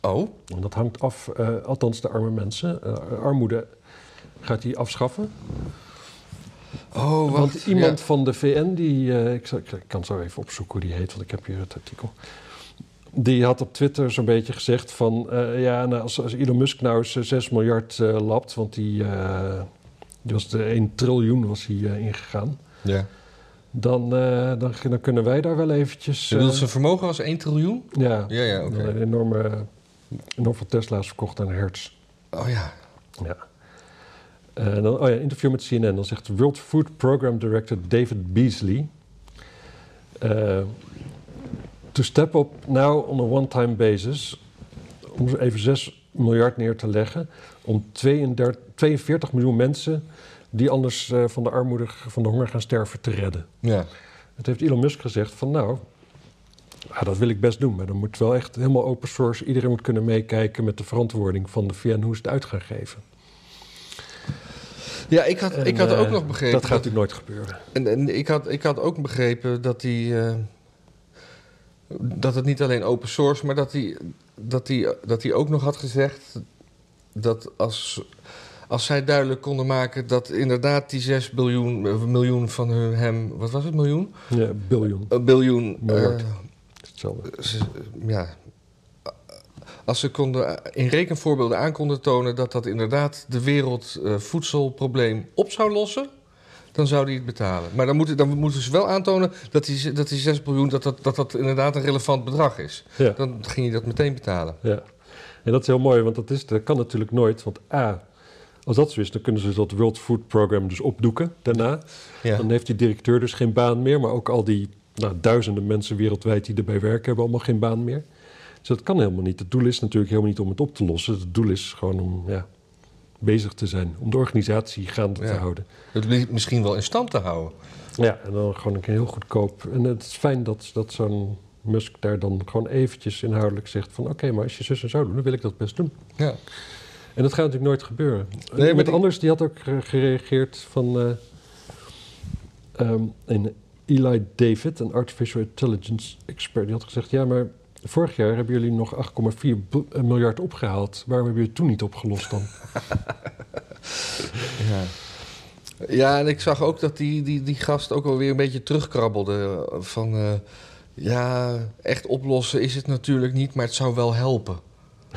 B: Oh,
A: En dat hangt af, eh, althans de arme mensen. Eh, armoede gaat hij afschaffen.
B: oh,
A: Want
B: wacht.
A: iemand
B: Ja.
A: van de VN, die, eh, ik, zal- ik kan zo even opzoeken hoe die heet, want ik heb hier het artikel. Die had op Twitter zo'n beetje gezegd van... eh, ja, nou, als, als Elon Musk nou eens eh, 6 miljard eh, lapt, want die, eh, die was de 1 triljoen was hij eh, ingegaan...
B: Ja.
A: Dan, eh, dan, dan kunnen wij daar wel eventjes...
B: Je bedoelt
A: eh,
B: zijn vermogen was 1 triljoen?
A: ja,
B: Ja, ja, oké.
A: dan een enorme, enorm veel Tesla's verkocht aan Hertz.
B: Oh ja.
A: Ja. Eh, dan, oh ja, interview met CNN. Dan zegt World Food Program Director David Beasley... eh, to step up now on a one-time basis... om zo even 6 miljard neer te leggen... om 32, 42 miljoen mensen... die anders eh, van de armoede, van de honger gaan sterven, te redden.
B: Ja.
A: Het heeft Elon Musk gezegd van nou... ah, dat wil ik best doen, maar dan moet wel echt helemaal open source. Iedereen moet kunnen meekijken met de verantwoording van de VN hoe ze het uit gaan geven.
B: Ja, ik had, ik had
A: En,
B: ook
A: eh,
B: nog begrepen.
A: Dat gaat natuurlijk nooit gebeuren.
B: En, en ik, had, ik had ook begrepen dat die. eh, dat het niet alleen open source, maar dat hij dat die, dat die ook nog had gezegd. dat als, als zij duidelijk konden maken dat inderdaad die 6 biljoen, eh, miljoen van hun, hem. wat was het, miljoen?
A: Ja, biljoen.
B: Een biljoen.
A: Miljard.
B: eh,
A: Hetzelfde.
B: ze- ja. Als ze konden in rekenvoorbeelden aan konden tonen dat dat inderdaad de wereldvoedselprobleem op zou lossen, dan zou die het betalen. Maar dan moeten, dan moeten ze wel aantonen dat die, dat die 6 miljoen dat dat, dat dat inderdaad een relevant bedrag is.
A: Ja,
B: Dan ging je dat meteen betalen.
A: ja. En dat is heel mooi, want dat, is, dat kan natuurlijk nooit. Want A, als dat zo is, dan kunnen ze dat World Food Program dus opdoeken daarna.
B: Ja.
A: Dan heeft die directeur dus geen baan meer, maar ook al die nou, duizenden mensen wereldwijd die erbij werken, hebben allemaal geen baan meer. Dus dat kan helemaal niet. Het doel is natuurlijk helemaal niet om het op te lossen. Het doel is gewoon om ja, bezig te zijn, om de organisatie gaande te
B: Ja.
A: houden.
B: Het li- misschien wel in stand te houden.
A: Ja, en dan gewoon een keer heel goedkoop. En het is fijn dat, dat zo'n Musk daar dan gewoon eventjes inhoudelijk zegt van... oké, maar als je zus en zo doet, dan wil ik dat best doen.
B: Ja.
A: En dat gaat natuurlijk nooit gebeuren.
B: maar
A: Nee, Iemand
B: die-
A: anders die had ook ge- gereageerd van... eh, ehm, een Eli David, een artificial intelligence expert, die had gezegd... ja, maar vorig jaar hebben jullie nog 8,4 bil- eh, miljard opgehaald. Waarom hebben jullie het toen niet opgelost dan?
B: Ja. ja, en ik zag ook dat die, die, die gast ook alweer een beetje terugkrabbelde. eh, Van eh, ja, echt oplossen is het natuurlijk niet, maar het zou wel helpen.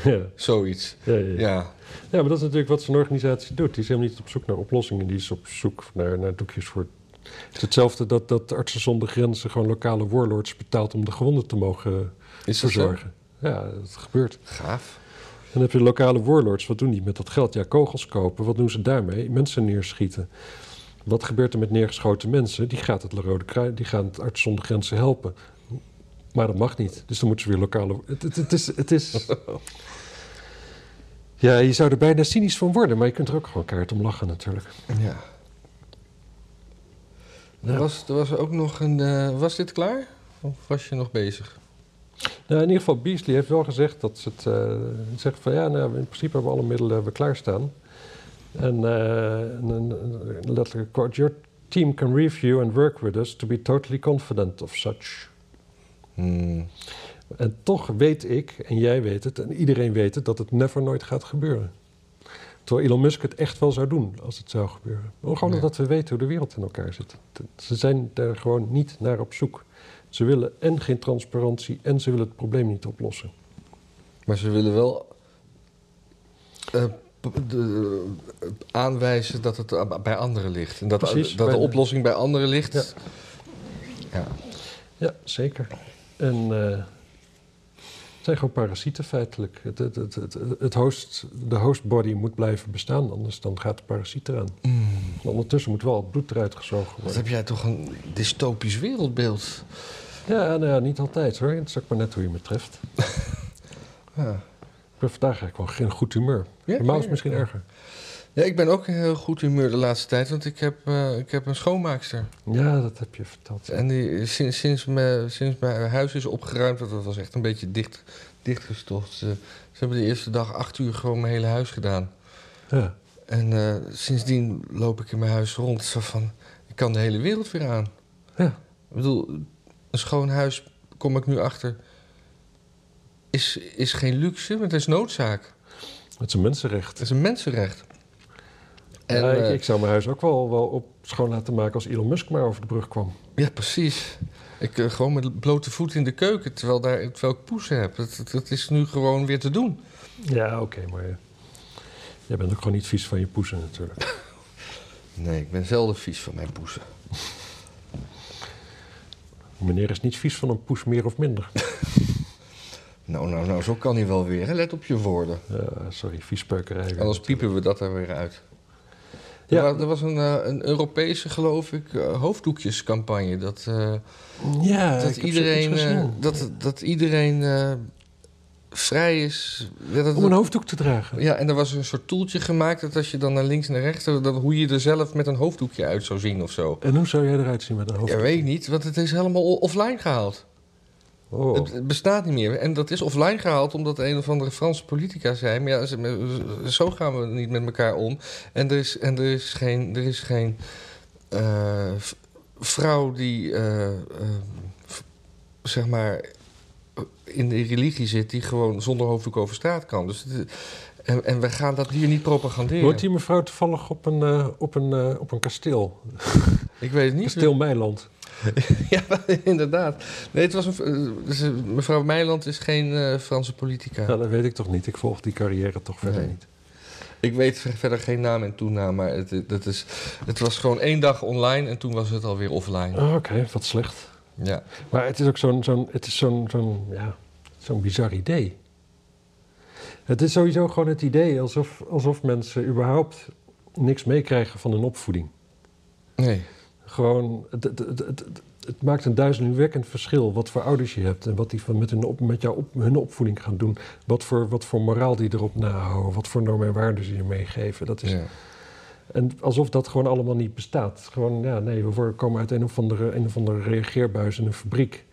A: ja,
B: Zoiets.
A: ja, ja.
B: Ja,
A: Ja, maar dat is natuurlijk wat zo'n organisatie doet. Die is helemaal niet op zoek naar oplossingen. Die is op zoek naar, naar doekjes voor... Het is hetzelfde dat, dat Artsen zonder Grenzen gewoon lokale warlords betaalt... om de gewonden te mogen
B: is dat zo?
A: verzorgen. Ja, dat gebeurt.
B: Gaaf.
A: En dan heb je lokale warlords. Wat doen die met dat geld? Ja, kogels kopen. Wat doen ze daarmee? Mensen neerschieten. Wat gebeurt er met neergeschoten mensen? Die gaat het Rode Kruis, die gaan het Artsen zonder Grenzen helpen. Maar dat mag niet. Dus dan moeten ze weer lokale... Het, het, het is... Het is... Ja, je zou er bijna cynisch van worden, maar je kunt er ook gewoon keihard om lachen natuurlijk.
B: Ja. Er
A: Ja.
B: was, er was ook nog een. eh, was dit klaar? Of was je nog bezig?
A: Nou, in ieder geval, Beasley heeft wel gezegd dat ze het eh, zegt van ja, nou, in principe hebben we alle middelen hebben we klaarstaan. En eh, en een een letterlijke quote: Your team can review and work with us to be totally confident of such.
B: Hmm.
A: En toch weet ik, en jij weet het, en iedereen weet het, dat het never nooit gaat gebeuren. Terwijl Elon Musk het echt wel zou doen als het zou gebeuren. Maar gewoon
B: Ja.
A: omdat we weten hoe de wereld in elkaar zit. T- Ze zijn daar gewoon niet naar op zoek. Ze willen en geen transparantie en ze willen het probleem niet oplossen.
B: Maar ze willen wel. eh, p- de- eh, aanwijzen dat het eh, bij anderen ligt. En dat,
A: Precies,
B: dat de
A: bij de-
B: oplossing bij anderen ligt.
A: Ja.
B: Ja.
A: Ja, zeker. En eh, Het zijn gewoon parasieten feitelijk. Het, het, het, het, het host, de hostbody moet blijven bestaan, anders dan gaat de parasiet eraan. En ondertussen moet wel het bloed eruit gezogen
B: Mm. Wat
A: worden.
B: heb jij toch een dystopisch wereldbeeld?
A: Ja, nou ja, niet altijd hoor. Het is ook maar net hoe je me treft.
B: Ja.
A: Ik ben vandaag eigenlijk wel geen goed humeur.
B: Ja,
A: Normaal is
B: ja,
A: het misschien
B: ja.
A: erger.
B: Ja, ik ben ook in heel goed humeur de laatste tijd, want ik heb, eh, ik heb een schoonmaakster.
A: Ja, dat heb je verteld.
B: En die, sinds, sinds, me, sinds mijn huis is opgeruimd, want dat was echt een beetje dicht, dichtgestort. Ze, ze hebben de eerste dag acht uur gewoon mijn hele huis gedaan.
A: Ja.
B: En eh, sindsdien loop ik in mijn huis rond. Zo van, ik kan de hele wereld weer aan.
A: Ja.
B: Ik bedoel, een schoon huis, kom ik nu achter, is, is geen luxe, maar het is noodzaak.
A: Het is een mensenrecht.
B: Het is een mensenrecht. En,
A: Ja, ik,
B: eh,
A: ik zou mijn huis ook wel, wel op schoon laten maken als Elon Musk maar over de brug kwam.
B: ja, precies. Ik eh, gewoon met blote voet in de keuken, terwijl, daar, terwijl ik poes heb. Dat, dat, dat is nu gewoon weer te doen.
A: Ja, oké, maar eh, jij bent ook gewoon niet vies van je poezen natuurlijk.
B: Nee, ik ben zelden vies van mijn poezen.
A: Meneer is niet vies van een poes meer of minder.
B: Nou, nou, nou, zo kan hij wel weer. hè. Let op je woorden.
A: Eh, sorry, viespeukerij. weer.
B: Anders piepen we dat er weer uit.
A: Ja.
B: Ja. Er, wa- er was een, eh, een Europese, geloof ik, eh, hoofddoekjescampagne. Dat, eh,
A: Ja, ik
B: dat,
A: heb
B: iedereen,
A: zoiets gezien.
B: eh, dat, dat iedereen eh, vrij is. Ja, dat-
A: Om een hoofddoek te dragen.
B: eh, ja, en er was een soort toeltje gemaakt dat als je dan naar links en naar rechts... Dat, hoe je er zelf met een hoofddoekje uit zou zien of zo.
A: En hoe zou jij eruit zien met een
B: Ja,
A: hoofddoek?
B: weet ik niet, want het is helemaal o- offline gehaald.
A: Oh.
B: Het- Het bestaat niet meer. En dat is offline gehaald omdat een of andere Franse politica zei... Maar ja, ze- zo gaan we niet met elkaar om. En er is, en er is geen, er is geen eh, v- vrouw die, eh, eh, v- zeg maar, in de religie zit... die gewoon zonder hoofddoek over straat kan. Dus het- en, en we gaan dat hier niet propaganderen.
A: Woont die mevrouw toevallig op een, eh, op een, eh, op een kasteel?
B: Ik weet het niet.
A: Kasteel Meiland.
B: Ja, inderdaad. Nee, het was een, eh, dus, eh, mevrouw Meiland is geen eh, Franse politica.
A: Nou, dat weet ik toch niet. Ik volg die carrière toch verder
B: Nee.
A: niet.
B: Ik weet ver- verder geen naam en toenaam, maar het, dat is, het was gewoon één dag online en toen was het alweer offline.
A: Oh, Oké, wat slecht.
B: Ja.
A: Maar het is ook zo'n zo'n- het is zo'n zo'n ja, zo'n bizar idee. Het is sowieso gewoon het idee alsof, alsof mensen überhaupt niks meekrijgen van hun opvoeding.
B: Nee.
A: Gewoon, het, het, het, het, het- het maakt een duizelingwekkend verschil wat voor ouders je hebt en wat die van met, hun op, met jou op, hun opvoeding gaan doen. Wat voor, wat voor moraal die erop nahouden, wat voor normen en waarden ze je meegeven. Dat is,
B: Ja.
A: En alsof dat gewoon allemaal niet bestaat. Gewoon, ja, nee, we worden- komen uit een of andere, een of andere reageerbuis in een fabriek.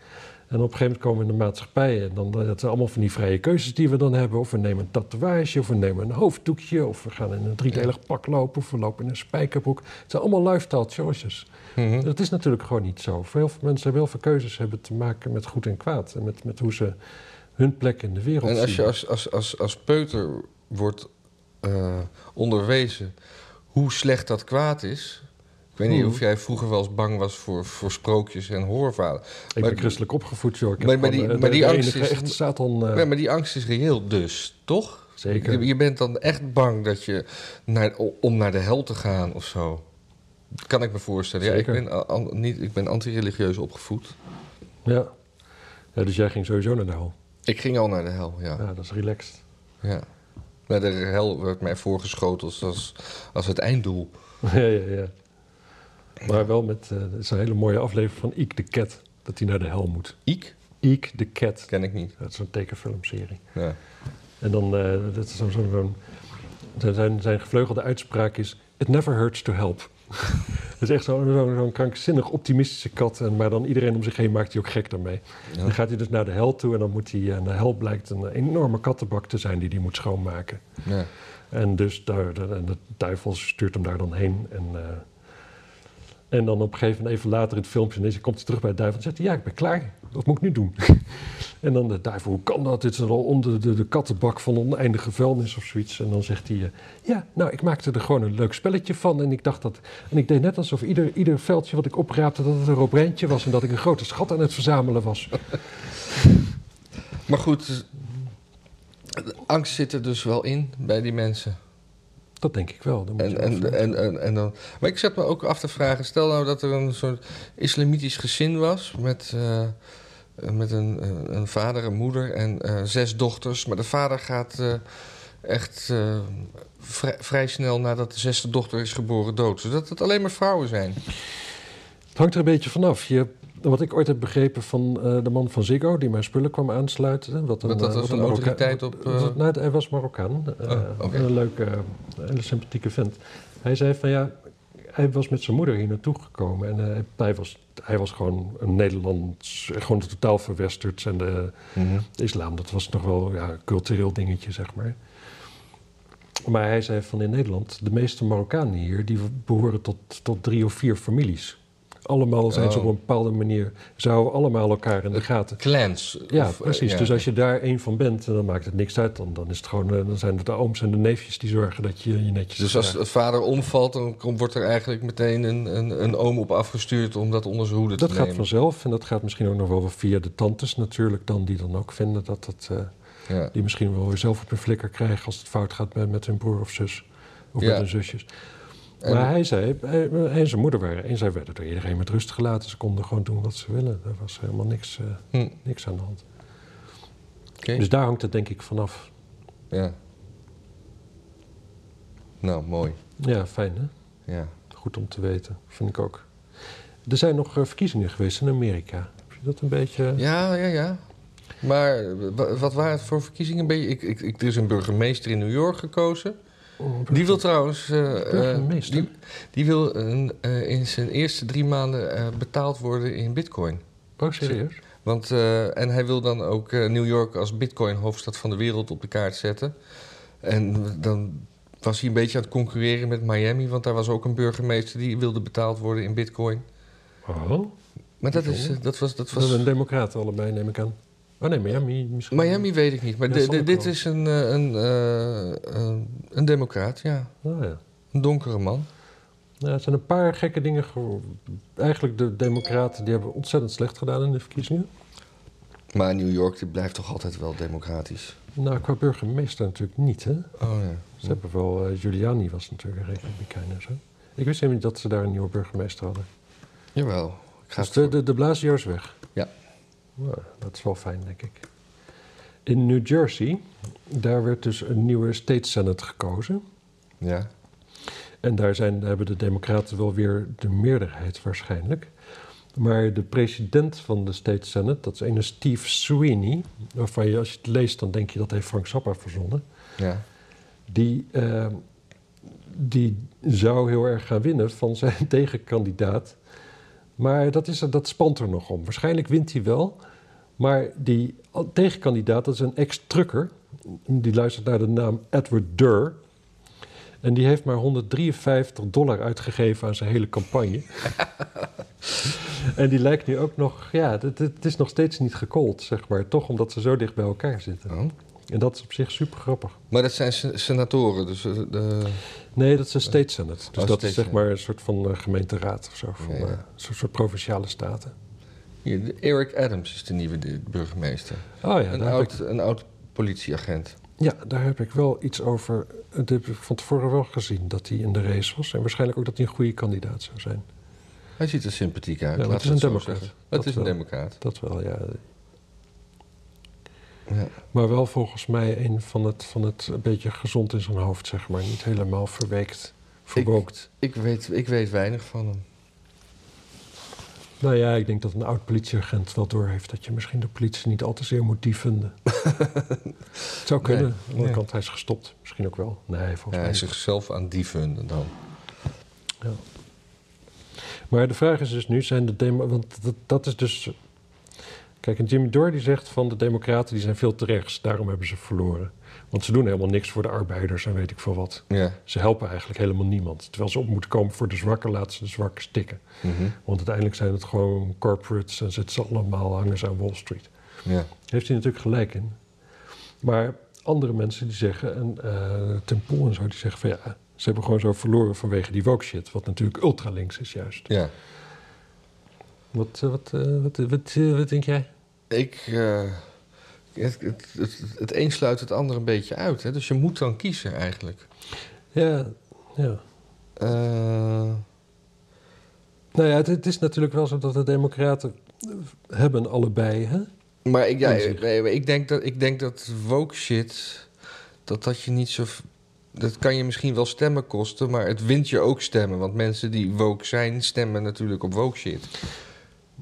A: En op een gegeven moment komen we in de maatschappij. En dan, eh, dat zijn allemaal van die vrije keuzes die we dan hebben. Of we nemen een tatoeage, of we nemen een hoofddoekje... of we gaan in een driedelig pak lopen, of we lopen in een spijkerbroek. Het zijn allemaal lifestyle choices.
B: Mhm.
A: Dat is natuurlijk gewoon niet zo. Voor heel veel mensen hebben heel veel keuzes hebben te maken met goed en kwaad. En met, met hoe ze hun plek in de wereld
B: En als je
A: zien.
B: als, als, als, als peuter wordt eh, onderwezen hoe slecht dat kwaad is. Ik weet niet
A: Mhm.
B: of jij vroeger wel eens bang was voor, voor sprookjes en hoorverhalen.
A: Ik
B: maar-
A: ben christelijk opgevoed, joh. Ik heb
B: Maar- maar
A: gewoon,
B: die-
A: eh, de-
B: maar die
A: de
B: angst
A: enige
B: is-
A: echte Satan... eh,
B: Nee, maar die angst is reëel dus, toch?
A: Zeker.
B: Je, je bent dan echt bang dat je naar, om naar de hel te gaan of zo. Kan ik me voorstellen. Ja, ik
A: Zeker.
B: ben, a- an- niet, ik ben antireligieus opgevoed.
A: Ja. ja. Dus jij ging sowieso naar de hel.
B: Ik ging al naar de hel, ja.
A: Ja, dat is relaxed.
B: ja. Naar de hel werd mij voorgeschoteld als, als het einddoel.
A: ja, ja, ja. Maar wel met eh, dat is een hele mooie aflevering van Iek de Cat. Dat hij naar de hel moet.
B: Ik?
A: Iek de Cat.
B: Ken ik niet.
A: Dat is een tekenfilmserie.
B: Ja.
A: En dan, eh, dat is zo'n... zo'n zo'n- zijn- zijn, zijn gevleugelde uitspraak is... It never hurts to help. dat is echt zo'n zo'n- zo'n krankzinnig optimistische kat. En, maar dan iedereen om zich heen maakt hij ook gek daarmee.
B: Ja.
A: Dan gaat hij dus naar de hel toe. En dan moet hij... eh, de hel blijkt een enorme kattenbak te zijn die hij moet schoonmaken.
B: Ja.
A: En dus daar, de, en de duivel stuurt hem daar dan heen. En, eh, en dan op een gegeven moment, even later in het filmpje, ineens komt hij terug bij de duivel en zegt hij, ja, ik ben klaar. Wat moet ik nu doen? en dan de duivel, hoe kan dat? Dit is al om de, de, de kattenbak van oneindige vuilnis of zoiets. En dan zegt hij, eh, ja, nou, ik maakte er gewoon een leuk spelletje van. En ik dacht dat, en ik deed net alsof ieder, ieder veldje wat ik opraapte, dat het een robreintje was. En dat ik een grote schat aan het verzamelen was.
B: Maar goed, de angst zit er dus wel in bij die mensen.
A: Dat denk ik wel. Dan moet je
B: En, en,
A: afvragen.
B: en, en, en dan, maar ik zat me ook af te vragen, stel nou dat er een soort islamitisch gezin was met eh, eh, met een, eh, een vader, een moeder en eh, zes dochters. Maar de vader gaat eh, echt eh, vrij, vrij snel nadat de zesde dochter is geboren dood. Zodat het alleen maar vrouwen zijn.
A: Het hangt er een beetje vanaf. Je, wat ik ooit heb begrepen van eh, de man van Ziggo, die mijn spullen kwam aansluiten. hè, Wat een,
B: Want dat
A: eh,
B: was
A: wat
B: een
A: Marokka-
B: autoriteit
A: wat-
B: op,
A: wat-
B: eh,
A: nou, het- hij was Marokkaan. eh,
B: Oh, oké.
A: Een leuke, eh, hele sympathieke vent. Hij zei van ja, hij was met zijn moeder hier naartoe gekomen. En eh, hij, was, hij was gewoon een Nederlands, gewoon totaal verwesterd. En eh, de,
B: eh,
A: de islam, dat was nog wel ja, een cultureel dingetje, zeg maar. Maar hij zei van in Nederland, de meeste Marokkanen hier, die behoren tot, tot drie of vier families. Allemaal zijn ze
B: Oh.
A: op een bepaalde manier, ze houden allemaal elkaar in de gaten.
B: Clans.
A: Ja,
B: Of, eh,
A: precies.
B: ja.
A: Dus als je daar één van bent, dan maakt het niks uit. Dan, dan, is het gewoon, eh, dan zijn het de ooms en de neefjes die zorgen dat je je netjes
B: Dus als
A: gedraagt.
B: het vader omvalt, dan komt- wordt er eigenlijk meteen een, een, een oom op afgestuurd om dat onder zijn hoede
A: Dat
B: te
A: gaat
B: nemen.
A: vanzelf en dat gaat misschien ook nog wel via de tantes natuurlijk dan, die dan ook vinden dat dat... eh,
B: Ja.
A: Die misschien wel weer zelf op een flikker krijgen als het fout gaat met, met hun broer of zus. Of
B: Ja.
A: met hun zusjes.
B: En-
A: maar hij zei, hij, hij en zijn moeder waren, en zij werden door iedereen met rust gelaten. Ze konden gewoon doen wat ze willen. Er was helemaal niks, eh,
B: Hm,
A: niks aan de hand.
B: oké.
A: Dus daar hangt het denk ik vanaf.
B: Ja. Nou, mooi.
A: Ja, fijn hè?
B: Ja.
A: Goed om te weten, vind ik ook. Er zijn nog eh, verkiezingen geweest in Amerika. Heb je dat een beetje... eh,
B: Ja, ja, ja. Maar eh, wa- wat waren het voor verkiezingen? Ben je- Ik, ik, ik, er is een burgemeester in New York gekozen. Die wil trouwens. eh, eh,
A: Burgemeester?
B: die, die wil een, eh, in zijn eerste drie maanden eh, betaald worden in Bitcoin.
A: Oh, serieus?
B: Want, eh, en hij wil dan ook eh, New York als Bitcoin-hoofdstad van de wereld op de kaart zetten. En dan was hij een beetje aan het concurreren met Miami, want daar was ook een burgemeester die wilde betaald worden in Bitcoin.
A: Oh,
B: Maar dat, is, eh, dat was. Dat
A: dat
B: was
A: zijn een democraten allebei, neem ik aan. Oh nee, Miami misschien.
B: Miami weet ik niet, maar
A: Ja,
B: di-
A: dat zal
B: di-
A: ook
B: dit
A: wel.
B: is een, eh, een, eh, een, een democraat, ja.
A: Oh, ja.
B: Een donkere man.
A: Nou, er zijn een paar gekke dingen. ge- Eigenlijk de Democraten die hebben ontzettend slecht gedaan in de verkiezingen.
B: Maar New York die blijft toch altijd wel democratisch?
A: Nou, qua burgemeester natuurlijk niet. Hè?
B: Oh ja.
A: Ze hebben wel, eh, Giuliani was natuurlijk een republikein en zo. Ik wist helemaal niet dat ze daar een nieuwe burgemeester hadden.
B: Jawel. Ik ga
A: Dus
B: het
A: de,
B: voor-
A: de, de Blasio is weg.
B: Ja.
A: Nou, dat is wel fijn, denk ik. In New Jersey, daar werd dus een nieuwe state senate gekozen.
B: Ja.
A: En daar, zijn, daar hebben de Democraten wel weer de meerderheid waarschijnlijk. Maar de president van de State Senate, dat is ene Steve Sweeney, waarvan je als je het leest dan denk je dat heeft Frank Zappa verzonnen.
B: ja.
A: Die, eh, die zou heel erg gaan winnen van zijn tegenkandidaat. Maar dat, is, er- dat spant er nog om. Waarschijnlijk wint hij wel. Maar die tegenkandidaat, dat is een ex-trucker. Die luistert naar de naam Edward Durr. En die heeft maar 153 dollar uitgegeven aan zijn hele campagne. en die lijkt nu ook nog... Ja, het, het is nog steeds niet gekold, zeg maar. Toch omdat ze zo dicht bij elkaar zitten.
B: Oh.
A: En dat is op zich super grappig.
B: Maar dat zijn se- senatoren, dus eh, de...
A: Nee, dat is een state senate. Dus dat
B: Oh, state
A: is zeg
B: senate.
A: maar een soort van eh, gemeenteraad of zo. Van,
B: Ja, ja.
A: eh, zo'n soort provinciale staten.
B: Hier, de- Eric Adams is de nieuwe de- burgemeester.
A: Oh ja,
B: een,
A: daar heb,
B: oud,
A: ik,
B: een oud politieagent.
A: ja, daar heb ik wel iets over. Dat heb ik van tevoren wel gezien dat hij in de race was. En waarschijnlijk ook dat hij een goede kandidaat zou zijn.
B: Hij ziet er sympathiek uit.
A: Ja, maar het
B: laat
A: is
B: ik
A: een
B: zo
A: democrat.
B: zeggen. Het
A: Dat
B: is een
A: wel.
B: democraat.
A: Dat wel, ja.
B: Ja.
A: Maar wel volgens mij een van het, van het een beetje gezond in zijn hoofd, zeg maar. Niet helemaal verweekt, verwookt.
B: Ik, weet, ik weet weinig van hem.
A: Nou ja, ik denk dat een oud politieagent wel doorheeft dat je misschien de politie niet al te zeer moet dieven. het zou kunnen. Aan de andere
B: Ja.
A: kant, hij is gestopt. Misschien ook wel. Nee, volgens
B: Ja, hij
A: mij
B: is
A: niet.
B: Eh, zichzelf aan dieven dan.
A: Ja. Maar de vraag is dus nu, zijn de demo... Want dat, dat is dus... Kijk, en Jimmy Dore die zegt van de democraten die zijn veel te rechts. Daarom hebben ze verloren. Want ze doen helemaal niks voor de arbeiders en weet ik veel wat.
B: Ja.
A: Ze helpen eigenlijk helemaal niemand. Terwijl ze op moeten komen voor de zwakken, laten ze de zwakken stikken.
B: Mhm.
A: Want uiteindelijk zijn het gewoon corporates en zitten ze allemaal hangers aan Wall Street.
B: ja.
A: Heeft hij natuurlijk gelijk in. Maar andere mensen die zeggen, en eh, Tim Poel en zo, die zeggen van ja, ze hebben gewoon zo verloren vanwege die woke shit. Wat natuurlijk ultralinks is juist.
B: Ja.
A: Wat, eh, wat, eh, wat, eh, wat, eh, wat denk jij?
B: Ik, eh, het, het, het, het een sluit het ander een beetje uit. Hè? Dus je moet dan kiezen eigenlijk.
A: Ja, ja.
B: Eh,
A: Nou ja, het, het is natuurlijk wel zo dat de democraten hebben allebei. Hè?
B: Maar ik, ja,
A: Inzicht.
B: nee, maar ik, denk dat, ik denk dat woke shit, dat dat je niet zo... v- Dat kan je misschien wel stemmen kosten, maar het wint je ook stemmen. Want mensen die woke zijn, stemmen natuurlijk op woke shit.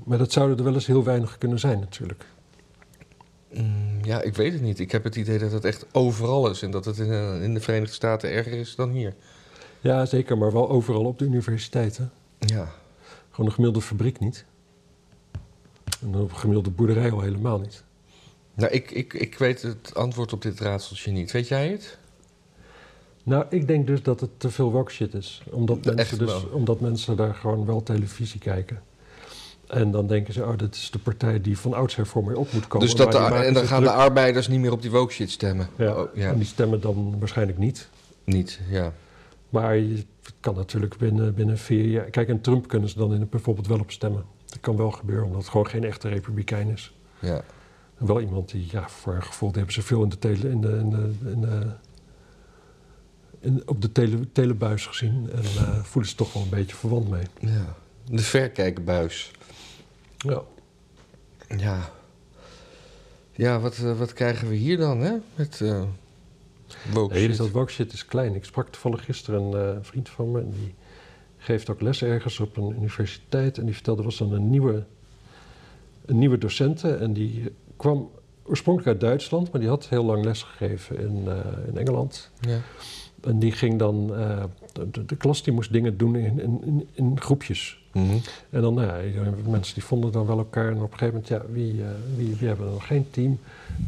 A: Maar dat zouden er wel eens heel weinig kunnen zijn natuurlijk.
B: Mm, ja, ik weet het niet. Ik heb het idee dat het echt overal is. En dat het in, eh, in de Verenigde Staten erger is dan hier.
A: Ja, zeker, maar wel overal op de universiteiten.
B: Ja.
A: Gewoon een gemiddelde fabriek niet. En op een gemiddelde boerderij al helemaal niet.
B: Nou, ik, ik, ik weet het antwoord op dit raadseltje niet. Weet jij het?
A: Nou, ik denk dus dat het te veel woke shit is. Omdat,
B: Ja,
A: mensen,
B: echt
A: dus,
B: wel.
A: omdat mensen daar gewoon wel televisie kijken. En dan denken ze, oh, dit is de partij die van oudsher voor mij op moet komen.
B: dus dat
A: maar die
B: de, ar-
A: maken
B: en dan
A: zich
B: gaan de
A: druk.
B: arbeiders niet meer op die woke shit stemmen.
A: Ja,
B: Oh, ja.
A: En die stemmen dan waarschijnlijk niet.
B: Niet, ja.
A: Maar je- het kan natuurlijk binnen, binnen vier jaar... Kijk, en Trump kunnen ze dan in, bijvoorbeeld wel op stemmen. Dat kan wel gebeuren, omdat het gewoon geen echte republikein is.
B: ja.
A: En wel iemand die, ja, voor een gevoel... Die hebben ze veel in de tele, in de, in de, in de- in- op de tele, telebuis gezien. En eh, voelen ze toch wel een beetje verwant mee.
B: ja. De verkijkbuis.
A: Ja.
B: Ja. Ja, wat, eh, wat krijgen we hier dan, hè? Met eh woke
A: Nee, dus
B: shit.
A: dat woke shit is klein. Ik sprak toevallig gisteren een eh, vriend van me... en die geeft ook les ergens op een universiteit... en die vertelde, er was dan een nieuwe, een nieuwe docent... en die kwam oorspronkelijk uit Duitsland... maar die had heel lang les gegeven in, eh, in Engeland.
B: Ja.
A: En die ging dan... eh, de, de- de klas die moest dingen doen in, in, in, in groepjes.
B: Mhm.
A: En dan, nou ja, mensen die vonden dan wel elkaar. En op een gegeven moment, ja, wie, eh, wie, wie hebben dan geen team?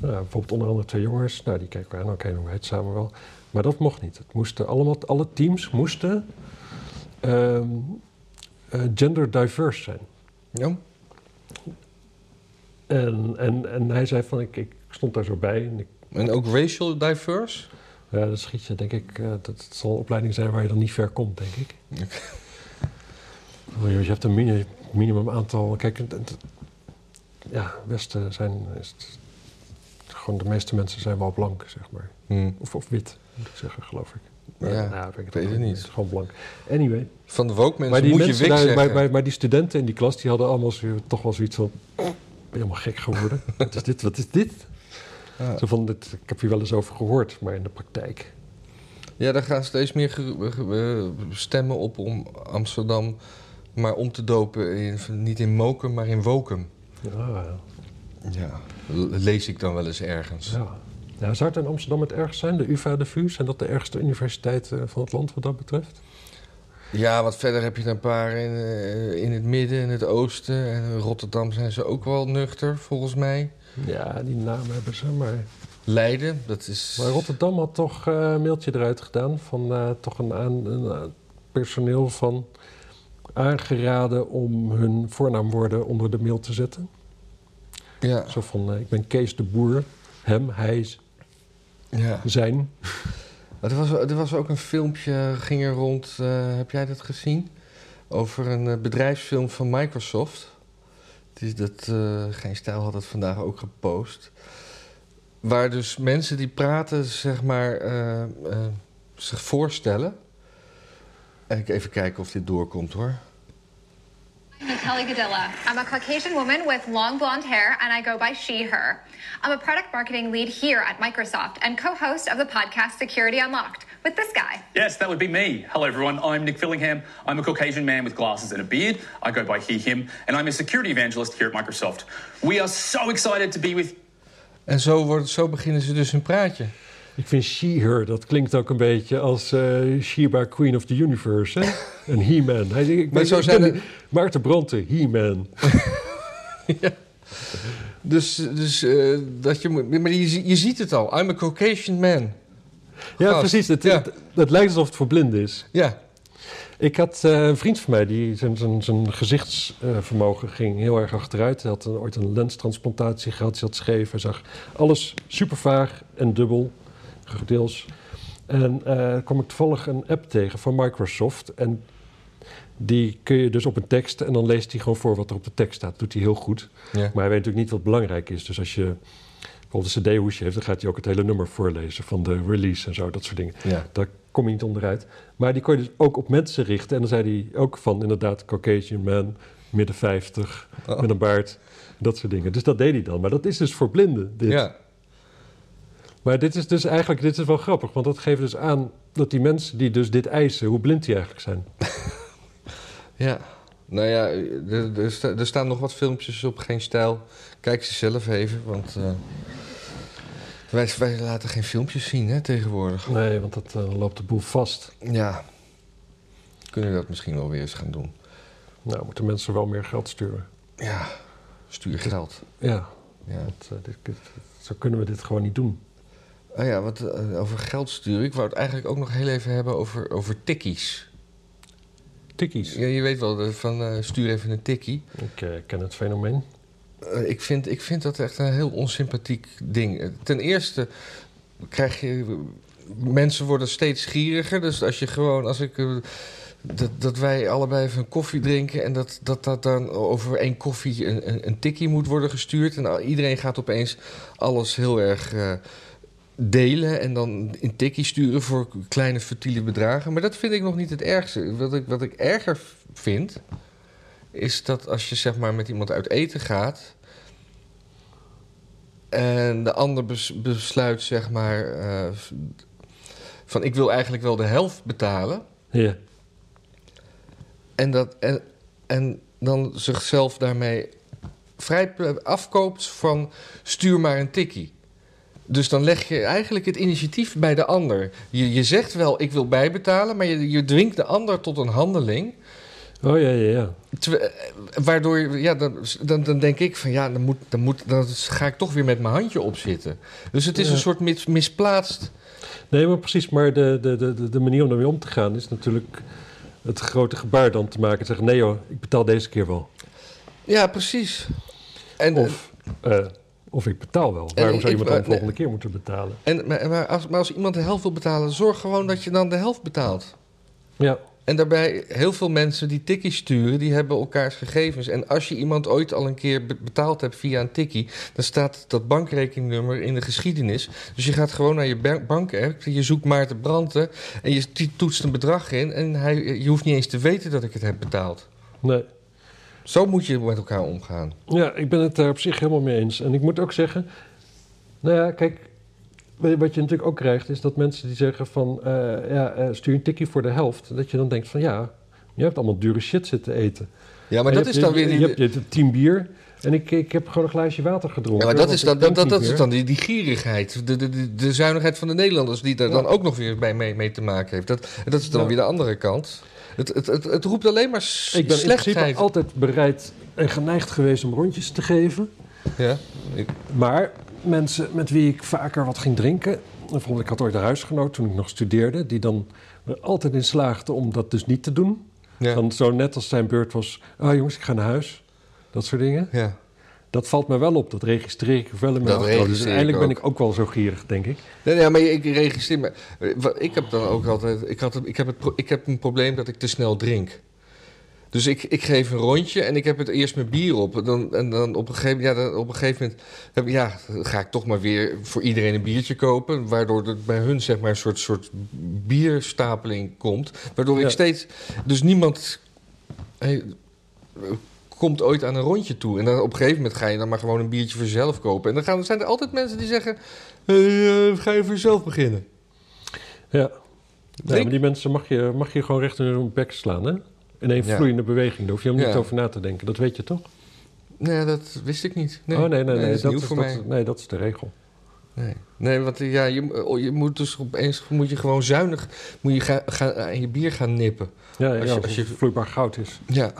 A: Nou, bijvoorbeeld onder andere twee jongens. Nou, die keken elkaar aan. Oké, dan doen wij het samen wel. Maar dat mocht niet. Het moesten allemaal, alle teams moesten ehm, eh, gender diverse zijn.
B: Ja.
A: En, en, en hij zei van, ik, ik stond daar zo bij. En ik,
B: En ook racial diverse?
A: ja, dat schiet je, denk ik. eh, dat het zal een opleiding zijn waar je dan niet ver komt, denk ik. Oh, joh, Je hebt een mini- minimum aantal. Kijk, het- het- ja, Westen zijn. Is het- gewoon de meeste mensen zijn wel blank, zeg maar.
B: Hm.
A: Of, of wit, moet ik zeggen, geloof ik.
B: Ja,
A: nou,
B: ik weet het niet.
A: is gewoon blank. Anyway.
B: Van de woke mensen
A: Maar die,
B: moet je
A: mensen
B: wik
A: daar-
B: zeggen.
A: maar, maar, maar die studenten in die klas, die hadden allemaal zo, toch wel zoiets van... Ben je helemaal gek geworden? wat is dit? Wat is dit?
B: Ja.
A: Zo van, dit, ik heb hier wel eens over gehoord, maar in de praktijk...
B: Ja, daar gaan steeds meer ge- ge- eh, stemmen op om Amsterdam maar om te dopen. In, niet in Mokum, maar in Wokum.
A: Ja,
B: Ja. Lees ik dan wel eens ergens.
A: ja. Nou, zou het in Amsterdam het ergst zijn? De UvA, de VU, zijn dat de ergste universiteiten van het land wat dat betreft?
B: Ja, wat verder heb je er een paar in, eh, in het midden, in het oosten. En in Rotterdam zijn ze ook wel nuchter, volgens mij.
A: Ja, die naam hebben ze. Maar,
B: Leiden, dat is...
A: maar Rotterdam had toch eh, een mailtje eruit gedaan van eh, toch een, aan, een, eh, personeel van aangeraden om hun voornaamwoorden onder de mail te zetten.
B: Ja,
A: Zo van, eh, ik ben Kees de Boer, hem, hij,
B: ja.
A: zijn.
B: Er was, er was ook een filmpje, ging er rond, eh, heb jij dat gezien? Over een eh, bedrijfsfilm van Microsoft. Het is dat, eh, Geen Stijl had het vandaag ook gepost. Waar dus mensen die praten, zeg maar, eh, eh, zich voorstellen. En ik even kijken of dit doorkomt hoor.
C: My name is Kelly Gadilla. I'm a Caucasian woman with long blonde hair, and I go by she, her. I'm a product marketing lead here at Microsoft and co host of the podcast Security Unlocked with this guy.
D: Yes, that would be me. Hello, everyone. I'm Nick Fillingham. I'm a Caucasian man with glasses and a beard. I go by he, him, and I'm a security evangelist here at Microsoft. We are so excited to be with
B: En zo, wordt, zo beginnen ze dus hun praatje.
A: Ik vind she-her, dat klinkt ook een beetje als eh Sheba, Queen of the Universe. Hè? Een he-man. Hij zegt, ik
B: Maar
A: ben,
B: zo
A: ik
B: zijn
A: ben
B: er-
A: Maarten Bronte, he-man.
B: Dus, dus eh, dat je moet. Maar je, je ziet het al. I'm a Caucasian man.
A: Ja,
B: Gast,
A: precies. Het,
B: ja.
A: het- het lijkt alsof het voor blinden is.
B: Ja,
A: Ik had eh, een vriend van mij die zijn, zijn, zijn gezichtsvermogen ging heel erg achteruit. Hij had een- ooit een lenstransplantatie gehad, hij had scheef. Hij zag alles super vaag en dubbel, deels. En eh kwam ik toevallig een app tegen van Microsoft. En die kun je dus op een tekst en dan leest hij gewoon voor wat er op de tekst staat. Dat doet hij heel goed.
B: ja.
A: Maar hij weet natuurlijk niet wat belangrijk is. Dus als je bijvoorbeeld een cd-hoesje heeft, dan gaat hij ook het hele nummer voorlezen van de release en zo, dat soort dingen.
B: ja.
A: Daar kom je niet onderuit. Maar die kon je dus ook op mensen richten. En dan zei hij ook van inderdaad Caucasian man, midden 50, met een baard, dat soort dingen. Dus dat deed hij dan. Maar dat is dus voor blinden, dit.
B: Ja.
A: Maar dit is dus eigenlijk, dit is wel grappig, want dat geeft dus aan dat die mensen die dus dit eisen, hoe blind die eigenlijk zijn.
B: ja. Nou ja, er, er sta- er staan nog wat filmpjes op, geen stijl. Kijk ze zelf even, want eh, wij, wij laten geen filmpjes zien hè, tegenwoordig.
A: Nee, want dat eh, loopt de boel vast.
B: Ja, kunnen we dat misschien wel weer eens gaan doen.
A: Nou, moeten mensen wel meer geld sturen.
B: Ja, stuur geld.
A: Ja,
B: Ja.
A: want eh, dit, dit- zo kunnen we dit gewoon niet doen.
B: Oh ja, wat, eh, over geld sturen. Ik wou het eigenlijk ook nog heel even hebben over, over tikkies.
A: Tikkies.
B: Ja, je weet wel, eh, van eh, stuur even een tikkie.
A: Ik eh, ken het fenomeen.
B: Eh, ik, vind, ik vind dat echt een heel onsympathiek ding. Eh, Ten eerste krijg je. Mensen worden steeds gieriger. Dus als je gewoon. Als ik, eh, dat, dat wij allebei even een koffie drinken. en dat dat, dat dan over één koffie een, een, een tikkie moet worden gestuurd. en al- iedereen gaat opeens alles heel erg. eh, Delen en dan in tikkie sturen voor kleine futiele bedragen. Maar dat vind ik nog niet het ergste. Wat ik, wat ik erger vind, is dat als je zeg maar met iemand uit eten gaat. En de ander bes- besluit, zeg maar, eh, van ik wil eigenlijk wel de helft betalen.
A: Ja.
B: En, dat, en, en dan zichzelf daarmee vrij p- afkoopt van stuur maar een tikkie. Dus dan leg je eigenlijk het initiatief bij de ander. Je, je zegt wel ik wil bijbetalen, maar je, je dwingt de ander tot een handeling.
A: Oh ja, ja, ja.
B: Terwijl- eh, waardoor, je- ja, dan, dan, dan denk ik van ja, dan, moet, dan, moet, dan ga ik toch weer met mijn handje opzitten. Dus het is
A: Ja.
B: een soort mis- misplaatst
A: Nee, maar precies. Maar de, de, de, de- de manier om daarmee om te gaan is natuurlijk het grote gebaar dan te maken. en Zeggen, nee hoor, ik betaal deze keer wel.
B: Ja, precies. En,
A: Of, eh, of ik eh, betaal wel. Waarom
B: ik-
A: zou iemand dan
B: ik-
A: de volgende keer moeten betalen?
B: en, maar, maar als, maar als iemand de helft wil betalen, zorg gewoon dat je dan de helft betaalt.
A: Ja,
B: En daarbij, heel veel mensen die tikkies sturen, die hebben elkaars gegevens. En als je iemand ooit al een keer be- betaald hebt via een tikkie, dan staat dat bankrekeningnummer in de geschiedenis. Dus je gaat gewoon naar je ba- bank-app, je zoekt Maarten Branten en je t- toetst een bedrag in. En hij, je hoeft niet eens te weten dat ik het heb betaald.
A: nee.
B: Zo moet je met elkaar omgaan.
A: Ja, ik ben het daar op zich helemaal mee eens. En ik moet ook zeggen, nou ja, kijk, weet je, wat je natuurlijk ook krijgt is dat mensen die zeggen van, eh, ja, eh, stuur een tikkie voor de helft. Dat je dan denkt van, ja, je hebt allemaal dure shit zitten eten.
B: Ja, maar
A: En
B: dat
A: je hebt-
B: is
A: dus-
B: dan weer...
A: Je,
B: die-
A: je hebt, je hebt tien bier en ik, ik heb gewoon een glaasje water gedronken.
B: Ja, maar dat
A: want
B: is
A: ik
B: dan, dat,
A: drink
B: dat,
A: niet
B: dat is
A: meer.
B: dan die, die gierigheid. De, de, de, de zuinigheid van de Nederlanders die daar
A: Ja.
B: dan ook nog weer bij, mee, mee te maken heeft. Dat, dat is dan
A: Ja.
B: weer de andere kant. Het, het, het, het roept alleen maar s-
A: Ik ben in
B: slechtheid.
A: principe altijd bereid en geneigd geweest om rondjes te geven.
B: Ja, ik,
A: Maar mensen met wie ik vaker wat ging drinken... Bijvoorbeeld, ik had ooit een huisgenoot toen ik nog studeerde... die dan er altijd in slaagde om dat dus niet te doen.
B: ja,
A: Dan zo net als zijn beurt was... ah jongens, ik ga naar huis. Dat soort dingen.
B: ja.
A: Dat valt me wel op. Dat registreer ik wel in mijn
B: Dat
A: achterhoofd. Dus
B: registreer ik
A: uiteindelijk ben
B: ook.
A: ik ook wel zo gierig, denk ik.
B: Nee, nee, maar ik registreer me. eh, wat- Ik heb dan ook altijd. Ik, had, het- ik, heb het, pro- ik heb een probleem dat ik te snel drink. Dus ik, ik geef een rondje en ik heb het eerst mijn bier op. Dan, en dan op een gegeven, ja, dan op een gegeven moment heb, ja, dan ga ik toch maar weer voor iedereen een biertje kopen. Waardoor er bij hun zeg maar, een soort, soort bierstapeling komt. Waardoor
A: Ja.
B: ik steeds. Dus niemand hey, komt ooit aan een rondje toe. En dan op een gegeven moment ga je dan maar gewoon een biertje voor jezelf kopen. En dan gaan, zijn er altijd mensen die zeggen: "Hey, eh, ga je voor jezelf beginnen.
A: Ja. Ja,
B: Drink-
A: maar die mensen mag je, mag je gewoon recht in hun bek slaan, hè? In één
B: Ja.
A: vloeiende beweging. Daar hoef je helemaal
B: Ja.
A: niet over na te denken. Dat weet je toch?
B: Nee, dat wist ik niet. Nee,
A: oh, nee, nee, nee.
B: dat is nieuw
A: is-
B: voor mij.
A: is- nee, dat is de regel.
B: Nee. nee, want eh, ja, je, oh, je moet dus opeens moet je gewoon zuinig moet je gaan, gaan, aan je bier gaan nippen.
A: Ja, ja,
B: Als
A: als,
B: je-
A: je,
B: als je-
A: vloeibaar goud is.
B: Ja,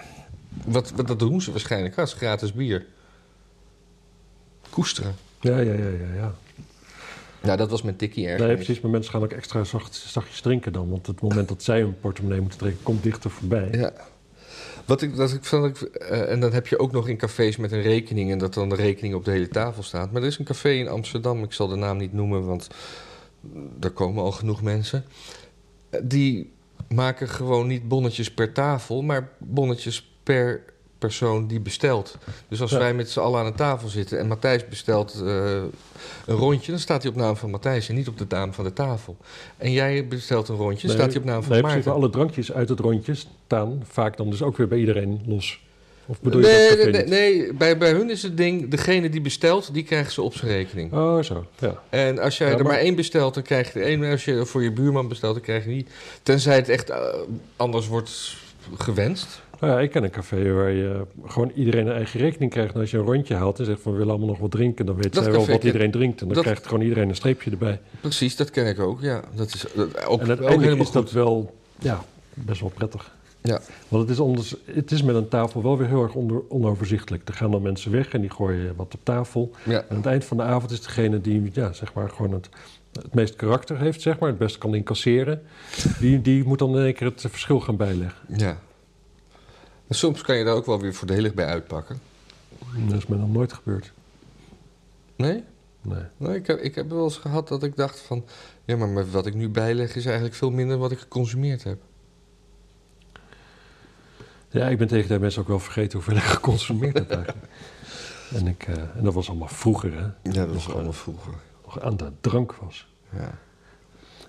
B: wat, wat, dat doen ze waarschijnlijk als gratis bier. Koesteren.
A: Ja, ja, ja, ja. ja.
B: Nou, dat was mijn tikkie erg.
A: Nee, precies. Maar mensen gaan ook extra zacht, zachtjes drinken dan. Want het moment dat zij hun portemonnee moeten trekken, komt dichter voorbij.
B: Ja. Wat ik, dat ik, dat ik, eh, en dat heb je ook nog in cafés met een rekening... en dat dan de rekening op de hele tafel staat. Maar er is een café in Amsterdam, ik zal de naam niet noemen... want er komen al genoeg mensen. Eh, Die maken gewoon niet bonnetjes per tafel... maar bonnetjes per persoon die bestelt. Dus als
A: Ja.
B: wij met z'n allen aan een tafel zitten... en Matthijs bestelt eh, een rondje... dan staat hij op naam van Matthijs en niet op de naam van de tafel. En jij bestelt een rondje,
A: Nee,
B: staat hij op naam van
A: nee, precies.
B: Maarten.
A: Maar alle drankjes uit het rondje staan vaak dan dus ook weer bij iedereen los. Of bedoel je
B: Nee,
A: dat
B: nee,
A: begin?
B: nee, nee. Bij, bij hun is het ding, degene die bestelt, die krijgt ze op zijn rekening.
A: Oh, zo. Ja.
B: En als jij
A: Ja,
B: er
A: maar-
B: maar één bestelt, dan krijg je er één. En als je voor je buurman bestelt, dan krijg je niet. Tenzij het echt eh, anders wordt gewenst.
A: Nou ja, ik ken een café waar je gewoon iedereen een eigen rekening krijgt. En als je een rondje haalt en zegt van we willen allemaal nog wat drinken, dan weet
B: Dat
A: zij wel
B: café
A: wat
B: ken-
A: iedereen drinkt. En dan
B: dat-
A: krijgt gewoon iedereen een streepje erbij.
B: Precies, dat ken ik ook. Ja, dat is dat, ook,
A: en
B: ook
A: uiteindelijk
B: helemaal
A: is
B: goed.
A: dat wel ja, best wel prettig.
B: Ja.
A: Want het is, anders, het is met een tafel wel weer heel erg onder- onoverzichtelijk. Er gaan dan mensen weg en die gooien wat op tafel.
B: Ja.
A: En aan het eind van de avond is degene die ja, zeg maar gewoon het, het meest karakter heeft, zeg maar, het best kan incasseren, die, die moet dan in één keer het verschil gaan bijleggen.
B: ja. En soms kan je daar ook wel weer voordelig bij uitpakken.
A: Dat is mij nog nooit gebeurd.
B: Nee?
A: Nee.
B: nee ik, heb, ik heb wel eens gehad dat ik dacht van... Ja, maar met wat ik nu bijleg is eigenlijk veel minder wat ik geconsumeerd heb.
A: Ja, ik ben tegen de mensen ook wel vergeten hoeveel ik geconsumeerd heb eigenlijk. En, ik, eh, en dat was allemaal vroeger, hè,
B: Ja, dat was allemaal vroeger.
A: nog aan de drank was.
B: Ja.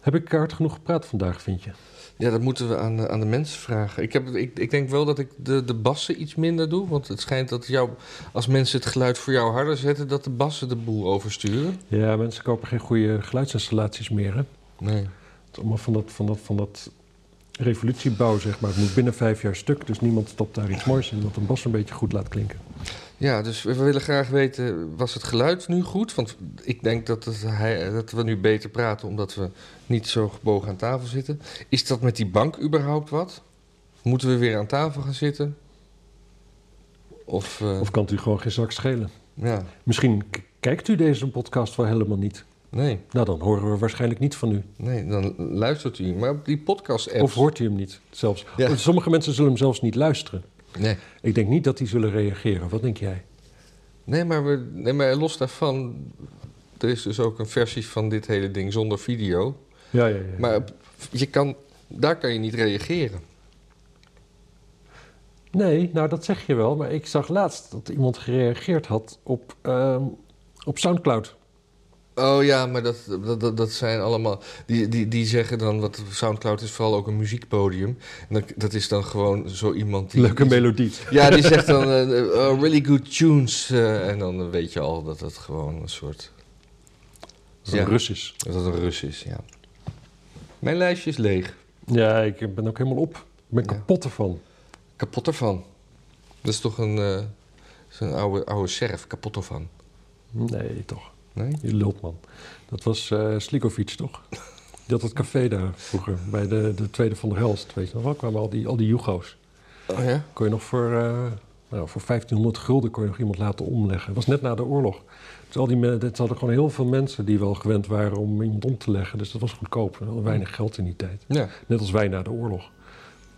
A: Heb ik hard genoeg gepraat vandaag, vind je?
B: Ja, dat moeten we aan, de- aan de mensen vragen. Ik, heb, ik, ik denk wel dat ik de, de bassen iets minder doe. Want het schijnt dat jou, als mensen het geluid voor jou harder zetten, dat de bassen de boel oversturen.
A: Ja, mensen kopen geen goede geluidsinstallaties meer, hè.
B: Nee.
A: Het is allemaal van dat, van dat, van dat revolutiebouw, zeg maar. Het moet binnen vijf jaar stuk, dus niemand stopt daar iets moois in... wat een bas een beetje goed laat klinken.
B: Ja, dus we we willen graag weten, was het geluid nu goed? Want ik denk dat, het, hij, dat we nu beter praten omdat we niet zo gebogen aan tafel zitten. Is dat met die bank überhaupt wat? Moeten we weer aan tafel gaan zitten? Of, eh,
A: Of kan het u gewoon geen zak schelen?
B: ja,
A: Misschien k- kijkt u deze podcast wel helemaal niet.
B: nee,
A: Nou, dan horen we waarschijnlijk niet van u.
B: nee, dan luistert u. Maar op die podcast-app...
A: Of hoort u hem niet, zelfs.
B: Ja.
A: Sommige mensen zullen hem zelfs niet luisteren.
B: Nee.
A: Ik denk niet dat die zullen reageren. Wat denk jij?
B: Nee, maar, we, nee, maar los daarvan, er is dus ook een versie van dit hele ding zonder video.
A: Ja, ja, ja.
B: Maar je kan, daar kan je niet reageren.
A: Nee, nou dat zeg je wel. Maar ik zag laatst dat iemand gereageerd had op, ehm, op Soundcloud.
B: Oh ja, maar dat, dat, dat, dat zijn allemaal. Die, die, die zeggen dan dat Soundcloud is vooral ook een muziekpodium. En dat, dat is dan gewoon zo iemand die.
A: Leuke
B: die-
A: melodie.
B: Ja, die zegt dan eh, eh, really good tunes. eh, en dan weet je al dat dat gewoon een soort.
A: Dat ja. Russisch.
B: Dat het een Rus is, ja. Mijn lijstje is leeg.
A: Ja, ik ben ook helemaal op. Ik ben
B: Ja.
A: kapot ervan.
B: Kapot ervan. Dat is toch een, eh, dat is een oude, oude serf, kapot ervan.
A: Nee, toch.
B: Nee?
A: Je lult, man. Dat was eh Slikovic, toch? Die had dat café daar vroeger, bij de, de Tweede van der Helst. Weet je nog wel, kwamen al die, al die Jugo's.
B: Oh ja?
A: Kon je nog voor, eh, nou, voor 1500 gulden kon je nog iemand laten omleggen. Dat was net na de oorlog. Dus al die men- dit hadden gewoon heel veel mensen die wel gewend waren om iemand om te leggen. Dus dat was goedkoop. We hadden weinig geld in die tijd.
B: Ja.
A: Net als wij na de oorlog.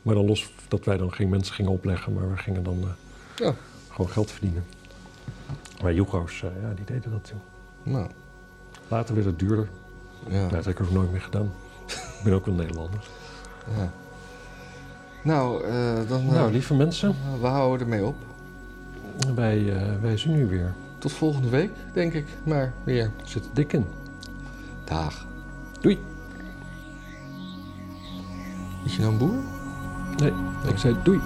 A: Maar dan los dat wij dan geen mensen gingen opleggen, maar we gingen dan eh,
B: ja.
A: gewoon geld verdienen. Maar Jugo's, eh, ja, die deden dat. joh.
B: Nou,
A: Later werd het duurder.
B: ja.
A: Dat heb ik ook nooit meer gedaan. ik ben ook een Nederlander.
B: ja. Nou, eh, dan. eh,
A: Nou, lieve mensen,
B: we houden ermee op.
A: wij, eh, wij zijn nu weer.
B: Tot volgende week, denk ik. Maar weer.
A: Het Zit er dik in.
B: Dag.
A: Doei.
B: Is je nou een boer?
A: Nee, ik zei doei.